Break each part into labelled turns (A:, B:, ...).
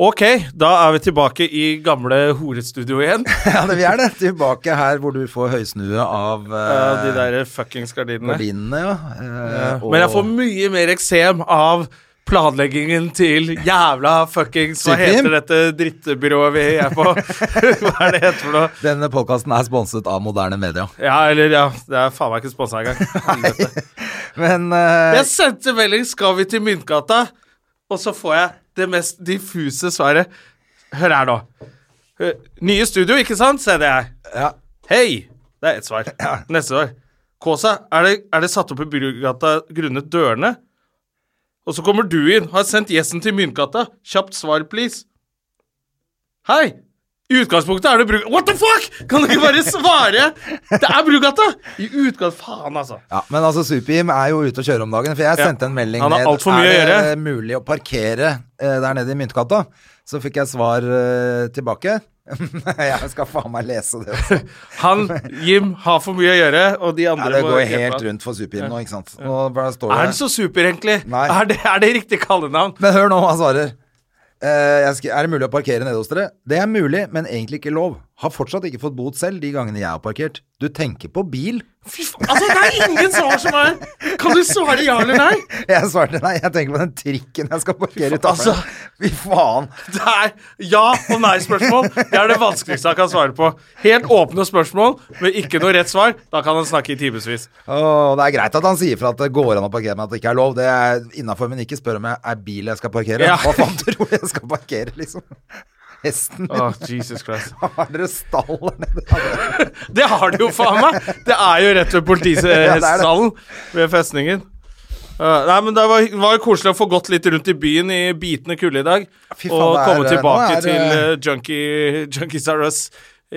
A: Ok, da er vi tilbake i gamle horestudio igjen.
B: Ja, det, vi er det. Tilbake her hvor du får høysnue av
A: av de
B: eh,
A: der fuckings gardinene.
B: gardinene, ja. Eh, og-
A: Men jeg får mye mer eksem av planleggingen til jævla fuckings Hva
B: Supergym?
A: heter dette drittbyrået vi er på? Hva er det heter for noe?
B: Denne podkasten er sponset av moderne media.
A: Ja, eller ja. Det er faen meg ikke sponsa engang. Helvete.
B: Men eh,
A: Jeg sendte melding 'Skal vi til Myntgata?' Og så får jeg det mest diffuse svaret. Hør her nå. Eh, Nye studio, ikke sant? sender jeg.
B: ja.
A: Hei! Det er ett svar. Neste svar. Kåsa, er det, er det satt opp i Brugata grunnet dørene? Og så kommer du inn. Har sendt gjesten til Myntgata. Kjapt svar, please. Hei! I utgangspunktet er det Brug... What the fuck?! Kan du ikke bare svare?! Det er Brugata! I utgang... Faen, altså.
B: Ja, men altså Supergym er jo ute og kjører om dagen, for jeg
A: Ja.
B: sendte en melding
A: Han har alt for mye
B: er
A: å
B: det
A: gjøre.
B: mulig å parkere eh, der nede i Myntgata? Så fikk jeg svar eh, tilbake. jeg skal faen meg lese det. Også.
A: Han, Jim, har for mye å gjøre, og de
B: Ja,
A: andre
B: det
A: må
B: går
A: hjelpe
B: helt
A: han.
B: rundt for Supergym nå, ikke sant. Nå bare står
A: Er han
B: det
A: så super, egentlig?
B: Nei.
A: Er det, er det riktig kallenavn?
B: Men hør nå hva han svarer. Eh, jeg skri- er det mulig å parkere nede hos dere? Det er mulig, men egentlig ikke lov. Har fortsatt ikke fått bot selv de gangene jeg har parkert. Du tenker på bil?
A: Fy faen, altså, det er ingen svar som er Kan du svare ja eller nei?
B: Jeg svarte nei, jeg tenker på den trikken jeg skal parkere
A: altså.
B: utafor. Fy faen.
A: Det er ja- og nei-spørsmål. Det er det vanskeligste han kan svare på. Helt åpne spørsmål, men ikke noe rett svar. Da kan han snakke i timevis.
B: Åh, det er greit at han sier fra at det går an å parkere, men at det ikke er lov. Det er innafor, men ikke spør om jeg er bil jeg skal parkere.
A: Ja.
B: Hva faen tror du jeg skal parkere, liksom? Hesten min.
A: Åh, Jesus Christ.
B: Har dere stall der nede?
A: Det har de jo faen meg! Det er jo
B: det
A: rett ved
B: er det.
A: politistallen ved festningen. Eh, nei, men Det var, var jo koselig å få gått litt rundt i byen i bitende kulde i dag.
B: Fy faen,
A: og
B: det er-
A: komme
B: nå
A: tilbake
B: er det-
A: til eh, junkie, junkies are us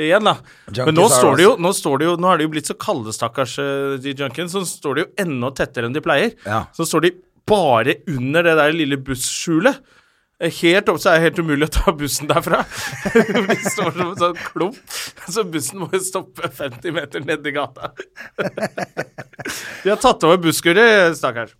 A: igjen, da. men nå
B: Junkies are
A: står, det jo,
B: us.
A: nå står det jo Nå er de jo blitt så kalde, stakkars eh, de junkiene, så står de jo enda tettere enn de pleier.
B: Ja.
A: Så står de bare under det der lille busskjulet. Eh, Helt opp så er det helt umulig å ta bussen derfra. De står som en sånn klump, så bussen må jo stoppe 50 meter nedi gata. De har tatt over busskuret, stakkars.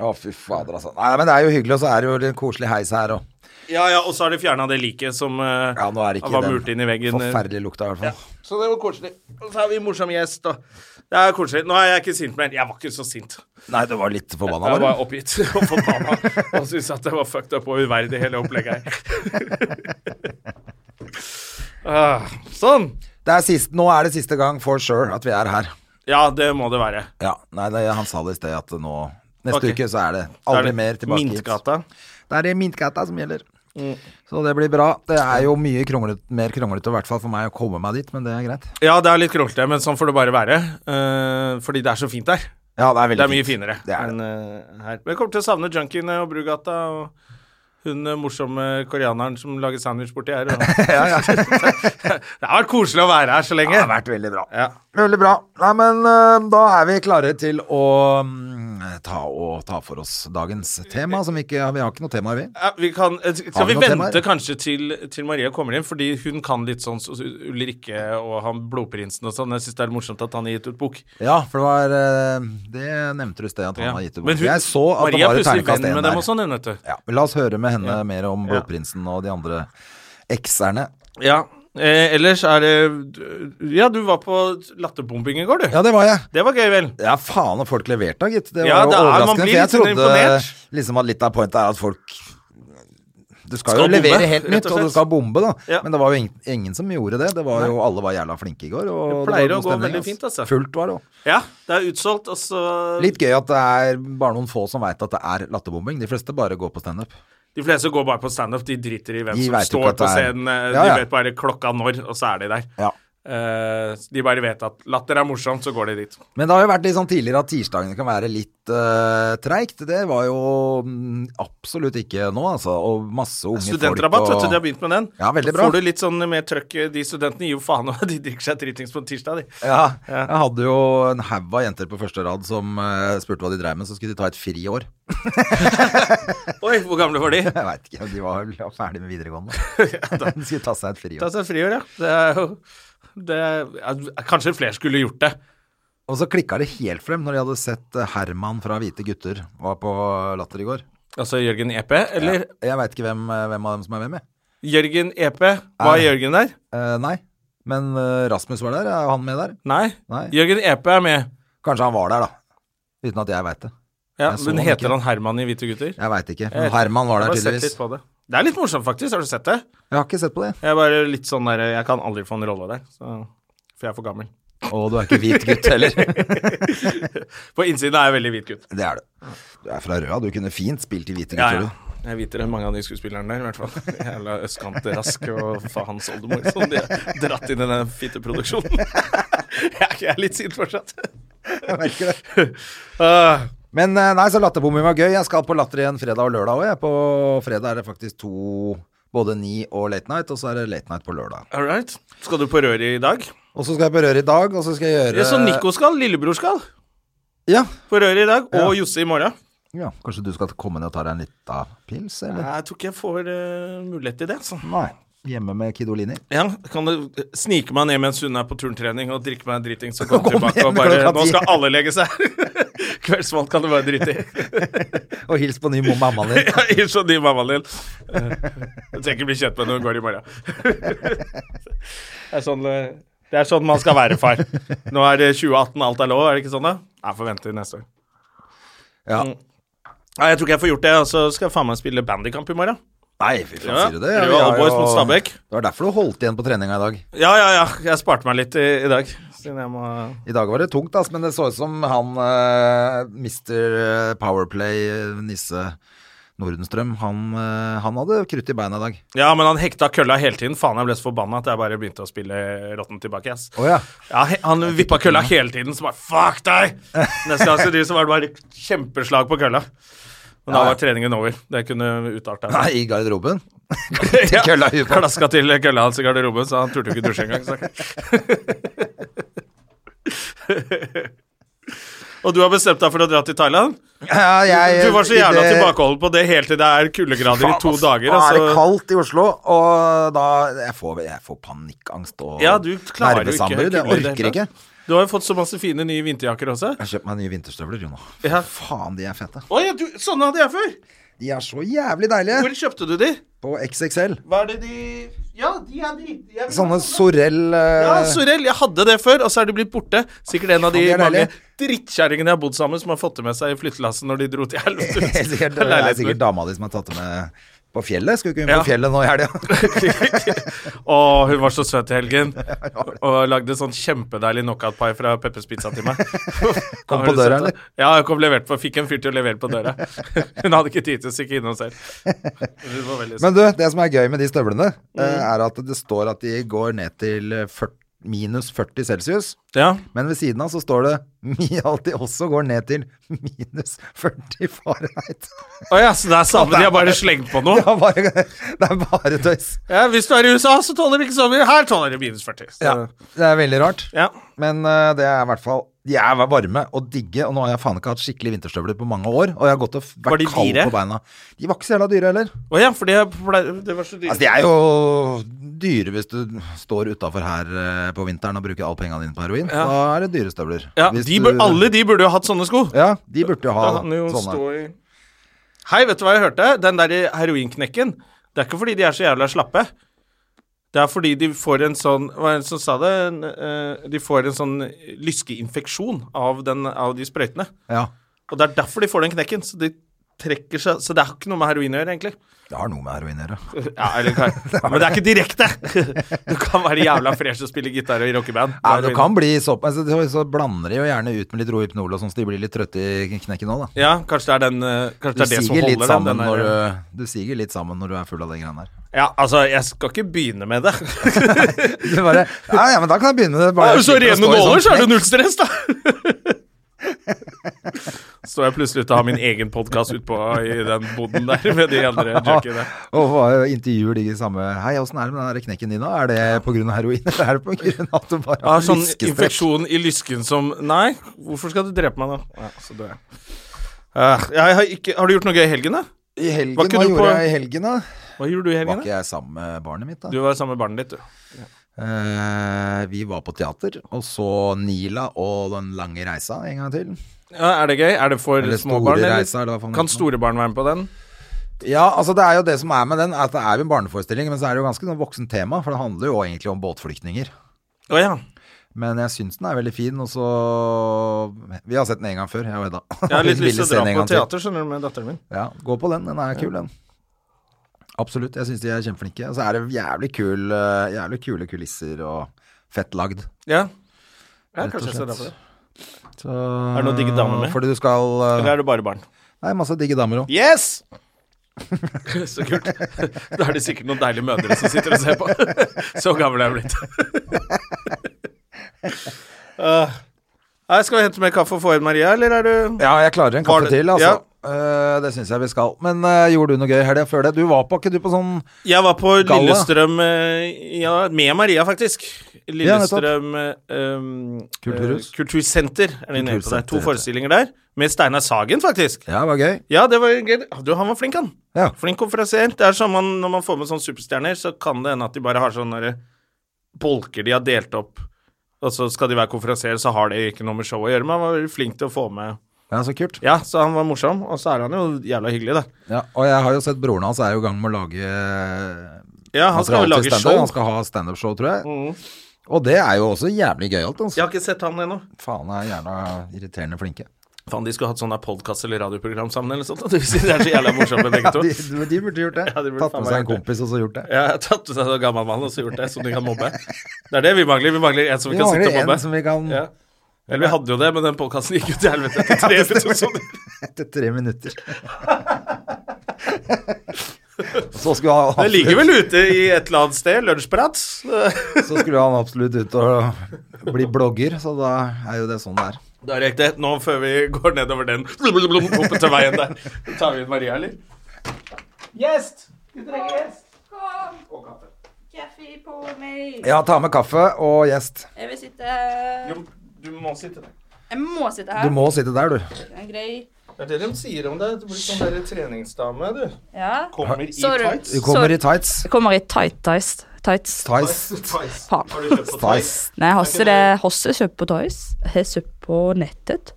B: Å, fy fader, altså. Nei, men det er jo hyggelig, og så er det jo en koselig heis her òg.
A: Ja, ja, og så har de fjerna det liket som eh,
B: Ja, nå er det ikke
A: var murt inn i veggen. eh.
B: forferdelige lukta, i hvert fall.
A: Så det var koselig. Og så har vi en morsom gjest, og det er koselig. Nå er jeg ikke sint mer. Jeg var ikke så sint.
B: Nei, det var litt forbanna,
A: Jeg
B: bare.
A: var oppgitt og forbanna og syntes at det var fucked up og uverdig, hele opplegget her. Ah, sånn.
B: Det er sist, nå er det siste gang for sure at vi er her.
A: Ja, det må det være.
B: Ja, nei, det, Han sa det i sted at nå Neste
A: Ok.
B: uke så er det
A: Da er
B: aldri
A: det
B: mer tilbake hit.
A: Mintgata.
B: Det er det Mintgata som gjelder. Så det blir bra. Det er jo mye kronglet, mer kronglete, i hvert fall for meg, å komme meg dit, men det er greit.
A: Ja, det er litt kronglete, men sånn får det bare være. Eh, fordi det er så fint der.
B: Ja, det er
A: Det
B: veldig
A: er mye
B: fint.
A: finere.
B: Det er det.
A: enn, eh, her. Men jeg kommer til å savne junkiene og Brugata og hun eh, morsomme koreaneren som lager sandwich borti her. Og. det har vært koselig å være her så
B: eh, Det
A: lenge.
B: har vært veldig bra.
A: Ja.
B: Veldig bra. Nei, men øh, da er vi klare til å mm, ta, og, ta for oss dagens tema, som vi ikke ja, Vi har ikke noe tema, vi.
A: Ja, vi kan,
B: Har
A: eh, skal
B: vi
A: vi
B: noen
A: vente
B: temaer?
A: kanskje til, til Maria kommer inn, fordi hun kan litt sånn som Ulrikke og han blodprinsen og sånn. Jeg syns det er morsomt at han har gitt ut bok.
B: Ja, for det var øh, Det nevnte du i sted, at han har gitt ut bok. Jeg så at det var
A: Maria er
B: et
A: plutselig
B: terningkast
A: venn
B: én
A: med dem
B: der.
A: og sånn, hun, vet du.
B: Ja, la oss høre med henne
A: Ja.
B: mer om
A: Ja.
B: Blodprinsen og de andre ekserne.
A: Ja. Eh, ellers er det Ja, du var på latterbombing i går, du.
B: Ja, det var jeg.
A: Det var gøy, vel?
B: Ja, faen og folk leverte da, gitt. Det var
A: Ja,
B: jo
A: det er- man
B: overraskende.
A: blir
B: For jeg
A: litt sånn
B: trodde
A: imponert.
B: liksom at litt av pointet er at folk Du skal,
A: Skal
B: jo
A: bombe,
B: levere helt
A: rett og
B: nytt, og,
A: slett.
B: du skal bombe, da.
A: Ja.
B: Men det var jo ingen, ingen som gjorde det. Det var jo, Alle var jævla flinke i går. Og
A: Det
B: var
A: pleier
B: god
A: å gå
B: stemning,
A: veldig fint, altså.
B: Fullt var det òg.
A: Ja, det er utsolgt, og så
B: Litt gøy at det er bare noen få som veit at det er latterbombing. De fleste bare går på standup.
A: De fleste går bare på standup. De driter i hvem
B: De
A: som
B: vet jo
A: står
B: ikke at
A: på
B: det er-
A: scenen. eh,
B: Ja, ja.
A: De vet bare klokka når, og så er de der.
B: Ja.
A: Eh, de bare vet at latter er morsomt, så går de dit.
B: Men det har jo vært litt sånn tidligere at tirsdagene kan være litt uh, treigt. Det var jo mm, absolutt ikke nå, altså. Og masse unge
A: Studentrabatt,
B: folk
A: vet du, de har begynt med den.
B: Ja, veldig
A: Så
B: bra.
A: Får du litt sånn mer trøkk De studentene gir jo faen og de drikker seg dritings på en tirsdag, de.
B: Ja, jeg hadde jo en haug av jenter på første rad som eh, spurte hva de dreiv med, så skulle de ta et friår.
A: Oi, hvor gamle var de?
B: Jeg veit ikke, de var vel ferdig med videregående. de skulle ta seg et
A: Ta
B: friår.
A: seg friår, ja. Det er jo det er, ja, Kanskje flere skulle gjort det.
B: Og så klikka det helt frem når de hadde sett eh, Herman fra Hvite gutter var på Latter i går.
A: Altså Jørgen Epe, eller
B: Jeg veit ikke hvem, eh, hvem av dem som er hvem, jeg.
A: Jørgen Epe, var Jørgen der?
B: Eh, nei. Men eh, Rasmus var der, er han med der?
A: Nei.
B: Nei.
A: Jørgen Epe er med.
B: Kanskje han var der, da. Uten at jeg veit det.
A: Ja,
B: Jeg så
A: men
B: han
A: heter
B: ikke.
A: han Herman i Hvite gutter?
B: Jeg veit ikke.
A: Jeg
B: Men
A: vet-
B: Herman var
A: Eh,
B: der
A: Jeg har bare sett
B: tydeligvis.
A: litt på det. det er litt morsomt, faktisk. Har du sett det?
B: Jeg har ikke sett på det.
A: Jeg er bare litt sånn der, jeg kan aldri få en rolle der, så, for jeg er for gammel.
B: Og du er ikke hvit gutt heller.
A: På innsiden er jeg veldig hvit gutt.
B: Det er du. Du er fra Røa, du kunne fint spilt i Hvite
A: Ja,
B: gutter,
A: ja. Jeg er hvitere enn mange av de skuespillerne der, i hvert fall. Jævla østkantrask og faens oldemor som de har dratt inn i den fitteproduksjonen. Jeg er- jeg er litt sint fortsatt.
B: du. Jeg merker det.
A: Ah,
B: Men eh, nei, så Latterbombing var gøy. Jeg skal på Latter igjen fredag og lørdag òg. På fredag er det faktisk to både ni og late night, og så er det late night på lørdag.
A: all right. Skal du på røret i dag? Eh,
B: Og så skal jeg på Røret i dag, og så skal jeg gjøre
A: Ja, så Nico skal, lillebror skal.
B: Ja.
A: På røret i dag, og Josse i morgen.
B: ja. Kanskje du skal komme ned og ta deg en lita pils, eller?
A: Jeg tror ikke jeg får eh, mulighet til det. altså.
B: Nei. Hjemme med Kidolini.
A: Ja, Kan du eh, snike meg ned mens hun er på turntrening og drikke meg en driting, så komme
B: Kom
A: tilbake
B: igjen,
A: og bare
B: klokka
A: Nå
B: ti.
A: skal alle legge seg. Kveldsmat kan du bare drite i.
B: Og hils på ny mor- mammaen din.
A: Ja, Ikke så ny mammaen din. Eh, Du trenger ikke bli kjent med henne når hun går i morgen. Det er sånn, eh, det er sånn man skal være far. Nå er det 2018, alt er lov, er det ikke sånn da? Jeg får vente til neste år.
B: Ja.
A: Mm. Nei, jeg tror ikke jeg får gjort det. Og så skal jeg faen meg spille bandykamp i morgen.
B: Nei, fy faen,
A: Ja,
B: sier du det?
A: Røa
B: vi har
A: Allboys
B: jo-
A: mot Stabæk.
B: Det var derfor du holdt igjen på treninga i dag.
A: Ja, ja, ja. Jeg sparte meg litt i, i dag. Siden jeg må
B: I dag var det tungt, ass, men det så ut som han eh, Mr. Powerplay, eh, Nisse Nordenstrøm, han, eh, han hadde krutt i beina i dag.
A: Ja, men han hekta kølla hele tiden. Faen, jeg ble så forbanna at jeg bare begynte å spille rotten tilbake, ass.
B: Å ja.
A: Ja, he- han vippa kølla hele tiden, så bare fuck deg! Neste gang så driver så var det bare kjempeslag på kølla. Men da
B: Ja, ja.
A: var treningen over. Det kunne utarta
B: Nei, i garderoben.
A: seg.
B: kølla i huet på.
A: Klaska til kølla hans i garderoben, så han turte jo ikke dusje engang. Så. Og du har bestemt deg for å dra til Thailand?
B: Ja, jeg-
A: du var så jævla
B: i det-
A: tilbakeholden på det helt til det er kuldegrader i
B: Faen,
A: to
B: ass,
A: dager.
B: Nå er det
A: Altså.
B: kaldt i Oslo, og da Jeg får, jeg får panikkangst og
A: Ja, du klarer jo
B: nervesammenbrudd.
A: ikke
B: Jeg
A: kulde i det
B: orker
A: hele
B: ikke.
A: tatt. Du har jo fått så masse fine nye vinterjakker også.
B: Jeg har kjøpt meg nye vinterstøvler, jo nå.
A: Ja.
B: Faen, de er fete.
A: Å ja, du, sånne hadde jeg før!
B: De er så jævlig deilige.
A: Hvor kjøpte du de?
B: På XXL.
A: Hva er det de Ja, de er de. de er de.
B: Sånne Sorell eh,
A: Ja, Sorell. Jeg hadde det før, og så er de blitt borte. Sikkert en av de
B: Ja, de er
A: mange
B: deilige.
A: drittkjerringene jeg har bodd sammen som har fått det med seg i flyttelasset når de dro til helvete.
B: Det er sikkert, det er sikkert dama di som har tatt det med på fjellet. Skulle ikke hun
A: Ja.
B: på fjellet nå i helga?
A: Å, hun var så søt i helgen. Og lagde sånn kjempedeilig knockout-pai fra Peppers Pizza til meg.
B: Kom
A: Har
B: på
A: du
B: døra,
A: sett det?
B: eller?
A: Ja, jeg kom levert på, fikk en fyr til å levere på døra. Hun hadde ikke tid til å stikke innom selv. Hun var veldig søt.
B: Men du, det som er gøy med de støvlene, eh,
A: Mm.
B: er at det står at de går ned til eh, 40, minus 40 celsius.
A: Ja.
B: Men ved siden av så står det mi- at de også går ned til minus 40 Fahrenheit.
A: Å ja, så det er
B: Sånn
A: samme, de har bare slengt på
B: Det
A: noe.
B: er bare, det er bare tøys.
A: Ja, hvis du er i USA, så tåler de ikke sommer. Her tåler de minus 40. Så.
B: Det er veldig rart.
A: Ja.
B: Men eh, det er i hvert fall De er varme og digge, og nå har jeg faen ikke hatt skikkelig vinterstøvler på mange år. Og jeg har gått og f-
A: Var de
B: vært kald
A: dyre?
B: på beina. De var ikke så jævla dyre heller.
A: Å ja, for det, ble- det var så dyrt.
B: Altså, de er jo dyre hvis du står utafor her eh, på vinteren og bruker alle pengene dine på heroin.
A: Ja.
B: Da er det dyre støvler.
A: ja,
B: Hvis
A: de
B: du-
A: bur, alle de burde jo hatt sånne sko.
B: Ja, sånn de burde jo ha
A: Da kan de jo stå
B: sånne.
A: i Hei, vet du hva jeg hørte? Den der heroinknekken. Det er ikke fordi de er så jævla slappe. Det er fordi de får en sånn Hva er det som sa det? En, eh, De får en sånn lyskeinfeksjon av, den, av de sprøytene.
B: Ja.
A: Og det er derfor de får den knekken. Så de trekker seg Så det har ikke noe med heroin å gjøre, egentlig.
B: Det har noe med heroin å gjøre.
A: Ja, eller, kan- men det er ikke direkte! Du kan være jævla fresh og spille gitar og i rockeband.
B: Nei, det kan bli så, altså, så, så blander de jo gjerne ut med litt Rohypnol og sånn, så de blir litt trøtte i knekken òg, da.
A: Ja, kanskje det er, den, eh, kanskje
B: Du
A: det, er det som
B: siger
A: holder
B: litt
A: den,
B: sammen
A: den der-
B: når du, du siger litt sammen når du er full av de greiene der.
A: Ja, altså, jeg skal ikke begynne med det.
B: Du bare Ja, ja, men da kan jeg begynne.
A: Ja,
B: Bare
A: Hvis du har
B: slipper å stå i sånn
A: rene nåler, så er det
B: knekk.
A: null stress, da! Står jeg plutselig ute og har min egen podkast utpå i den boden der med de andre junkiene.
B: Og hva- intervjuer de samme Hei, åssen er det med den der knekken din, da? Er det pågrunn av heroin, eller er det pga. at du bare
A: Jeg har sånn
B: lyskestress?
A: infeksjon i lysken som Nei, hvorfor skal du drepe meg nå? Ja, så dør jeg. Eh, jeg har, ikke, har du gjort noe gøy i helgen, da?
B: I helgen,
A: Var ikke
B: hva
A: du
B: gjorde
A: på-
B: jeg i helgen, da?
A: Hva gjorde du i
B: Var
A: helgen?
B: ikke
A: da?
B: jeg sammen med barnet mitt, da?
A: Du var sammen med barnet ditt, du.
B: Eh, vi var på teater, og så Nila og Den lange reisa en gang til.
A: Ja, er det gøy? Er det for
B: Eller
A: små
B: Store
A: barn? eller?
B: reiser, eller hva faen
A: kan
B: heter det?
A: store barn være med på den?
B: Ja, altså det er jo det som er med den, at det er jo en barneforestilling, men så er det jo ganske sånn voksent tema, for det handler jo egentlig om båtflyktninger.
A: Å ja.
B: Men jeg syns den er veldig fin, og så Vi har sett den en gang før, jeg og Edda.
A: Jeg har litt
B: Ville
A: lyst til å
B: se den
A: dra
B: en
A: på
B: gang til.
A: teater, skjønner du, med datteren min.
B: Ja, gå på den. Den er kul, den. Absolutt. Jeg syns de er kjempeflinke. Og så er det jævlig, kul, eh, jævlig kule kulisser og fett lagd.
A: Ja. ja
B: Rett og
A: kanskje jeg skal dra på
B: slett.
A: det.
B: Så, er
A: det noen digge damer med?
B: Fordi du skal eh,
A: Eller er det bare barn?
B: Det er masse digge damer òg.
A: Yes! Så kult. Da er det sikkert noen deilige mødre som sitter og ser på. Så gammel er jeg blitt. Uh, nei, skal vi hente mer kaffe og få inn Maria, eller er du
B: Ja, jeg klarer en
A: Har
B: kaffe
A: du-
B: til, altså. Eh, det syns jeg vi skal. Men eh, gjorde du noe gøy i helga før det? Du var på ikke du på sånn
A: Jeg var på
B: Galla.
A: Lillestrøm eh, ja, med Maria, faktisk. Lillestrøm eh, eh,
B: Kulturhus.
A: Kultursenter. Er det nede på
B: Kultursenter,
A: der. To
B: heter det.
A: forestillinger der. Med Steinar Sagen, faktisk.
B: Ja, det var gøy.
A: Ja, det var gøy. Du, han var flink, han.
B: Ja.
A: Flink konferansier. Det er som man, når man får med sånne superstjerner, så kan det hende at de bare har sånne der bolker de har delt opp, og så skal de være konferansierer, så har det ikke noe med showet å gjøre. Men han var flink til å få med
B: ja, så kult.
A: Ja, så han var morsom, og så er han jo jævla hyggelig, da.
B: Ja, og jeg har jo sett broren hans er jo i gang med å lage eh,
A: Ja, han skal jo
B: materiale til
A: lage
B: stand-up.
A: show. Mm.
B: Han skal ha standup-show, tror jeg. Og det er jo også jævlig gøyalt. Altså.
A: Jeg har ikke sett han ennå.
B: Faen er gjerne irriterende flinke.
A: Faen, de skulle hatt sånn der podkast eller radioprogram sammen eller sånt. da. Det vil si, det er så jævla morsomme begge to.
B: de, de burde gjort det.
A: Ja, de burde
B: Tatt
A: faen
B: med seg
A: meg
B: en
A: gjort det.
B: kompis og så gjort det.
A: Ja, jeg har tatt med seg en sånn gammel mann og så gjort det, som de kan mobbe. Det er det vi mangler. Vi mangler en som vi,
B: Vi
A: kan sitte
B: mangler
A: og mobbe.
B: en som vi kan
A: Ja. Eller vi hadde jo det, men den podkasten gikk jo til helvete etter tre episoder.
B: etter tre minutter. så, skulle han
A: Det ligger
B: absolutt,
A: vel ute i et eller annet sted, lunsjprat. Det
B: så skulle han absolutt ut og bli blogger, så da er jo det sånn det er.
A: er riktig. Nå før vi går nedover den blum-blum-blum, opp til veien der, tar vi inn Maria, eller? Gjest! Vi trenger gjest.
C: Kom! Kaffe på meg.
B: Ja, ta med kaffe og gjest.
C: Jeg vil sitte Jeg
A: Du må sitte der.
C: må sitte
B: Du
C: her.
B: må sitte der, du.
C: Det er grei.
A: Det er det de sier om deg. Du blir sånn der treningsdame, du.
C: Ja.
A: Kommer i
C: Sorry.
A: tights.
B: Du kommer
C: Så-
B: i tights.
C: Jeg kommer i tight tights. Tights.
B: Tights.
A: Tights.
C: Faen.
A: Har du kjøpt på
B: Tights.
A: tights?
C: Nei, jeg har ikke det. Jeg har ikke kjøpt på Tights. Jeg har kjøpt på nettet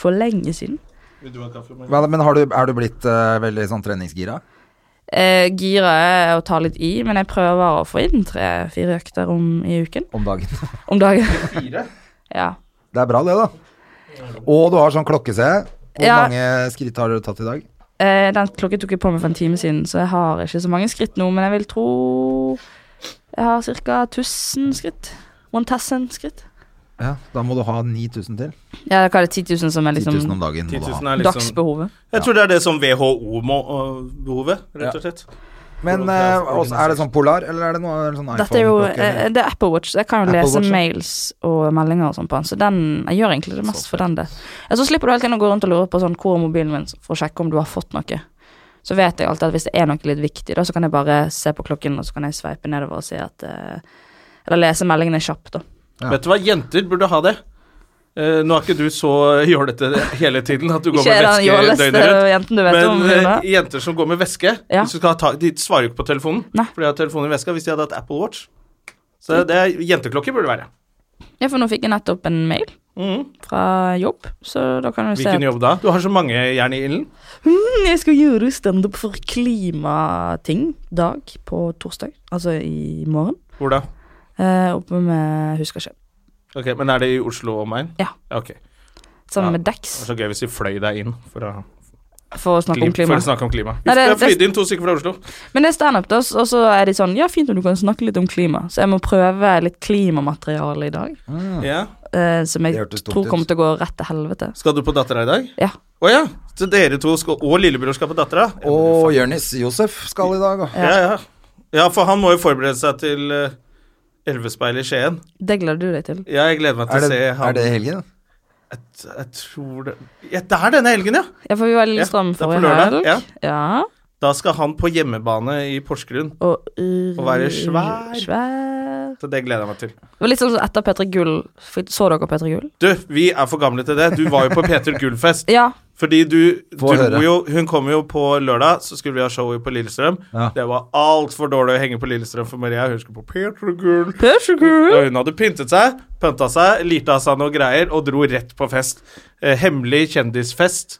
C: for lenge siden.
A: Vil du ha kaffe? Maria?
B: Men men har du, er du blitt eh, veldig sånn treningsgira?
C: Eh, Gira er å ta litt i, men jeg prøver å få inn tre-fire økter om i uken.
B: om dagen.
C: Om dagen.
A: Fire?
C: Ja.
B: Det er bra det, da. Og du har sånn klokke, ser jeg. Hvor
C: Ja.
B: mange skritt har du tatt i dag?
C: Eh, den klokken tok jeg på meg for en time siden, så jeg har ikke så mange skritt nå, men jeg vil tro jeg har ca. 1000 skritt. 1000 skritt.
B: Ja, Da må du ha 9000 til.
C: Ja, hva er det 10 000 som er
B: 10
C: liksom
B: 000 om dagen må
A: 10
B: du
A: 000
B: ha.
A: er liksom
C: dagsbehovet?
A: Jeg tror det er det som WHO-behovet, rett og slett.
B: Men eh, også, er det sånn Polar, eller er det noe eller sånn
C: Dette er jo
B: iPhone-klokke?
C: eh,
B: eller?
C: det er Apple Watch. så Jeg kan jo
B: Apple
C: lese
B: Watch, ja.
C: mails og meldinger og sånn på den, så den, jeg gjør egentlig det mest for den. det. Ja, så slipper du hele tiden å gå rundt og lure på sånn, hvor er mobilen min, for å sjekke om du har fått noe. Så vet jeg alltid at hvis det er noe litt viktig, da, så kan jeg bare se på klokken, og så kan jeg sveipe nedover og se at eh, Eller lese meldingene kjapt, da.
A: Vet du hva, jenter burde ha det. Eh, nå er ikke du så jålete hele tiden at du går
C: Ikke
A: med
C: er den
A: veske
C: jåleste
A: døgnet rundt.
C: jenten du vet om.
A: Men
C: Rune.
A: eh, jenter som går med veske
C: Ja.
A: hvis du skal ha ta, De svarer jo ikke på telefonen,
C: Nei.
A: for de har telefonen i veska hvis de hadde hatt Apple Watch. Så det er jenteklokke burde det være. Mhm.
C: Ja, for nå fikk jeg nettopp en mail fra jobb, så da kan du se
A: Hvilken
C: at
A: jobb da? Du har så mange jern i ilden.
C: «Mm, jeg skal gjøre standup for klimating dag på torsdag, altså i morgen.
A: Hvor da?
C: Eh, oppe med Husker ikke.
A: Ok, Men er det i Oslo og omegn?
C: Ja.
A: Ok.
C: Sammen
A: Ja.
C: med Dex.
A: Det var så gøy hvis de fløy deg inn for å
C: for å snakke om
A: For
C: klima.
A: å snakke om klima. Vi
C: Nei, det-
A: har
C: det-
A: flydd inn to stykker fra Oslo.
C: Men det er standup, da, og så er de sånn Ja, fint om du kan snakke litt om klima. Så jeg må prøve litt klimamateriale i dag.
B: Mm.
A: Ja.
C: eh, som jeg
B: Det hørtes dumt
C: tror
B: ut.
C: kommer til å gå rett til helvete.
A: Skal du på Dattera i dag?
C: Ja.
A: Å ja. Så dere to skal, og lillebror skal på Dattera?
B: Og Jonis Josef skal i dag. og-
A: Ja. ja, ja. For han må jo forberede seg til eh, Elvespeil i Skien.
C: Det gleder du deg til.
A: Ja, jeg gleder meg til
B: Er
A: å
B: det,
A: se
B: er
A: han.
B: det i helgen?
A: Jeg tror det ja, Det er denne helgen, ja.
C: Ja, for vi var i Lillestrøm
A: Ja, det er på
C: forrige
A: lørdag,
C: helg. Ja. ja.
A: Da skal han på hjemmebane i Porsgrunn.
C: Og,
A: Og være svær.
C: svær.
A: Så det gleder jeg meg til.
C: Det var litt sånn som etter P3 Gull. For- Så dere P3 Gull?
A: Du, vi er for gamle til det. Du var jo på Peter Gullfest.
C: Ja.
A: Fordi du
B: Få
A: dro
B: høre.
A: jo Hun kom jo på lørdag, så skulle vi ha show på Lillestrøm.
B: Ja.
A: Det var altfor dårlig å henge på Lillestrøm for Maria. Hun skulle på Peter Gull.
C: P3
A: Og
C: Gull.
A: hun hadde pyntet seg, pynta seg, lirte av seg noe greier og dro rett på fest. Eh, hemmelig kjendisfest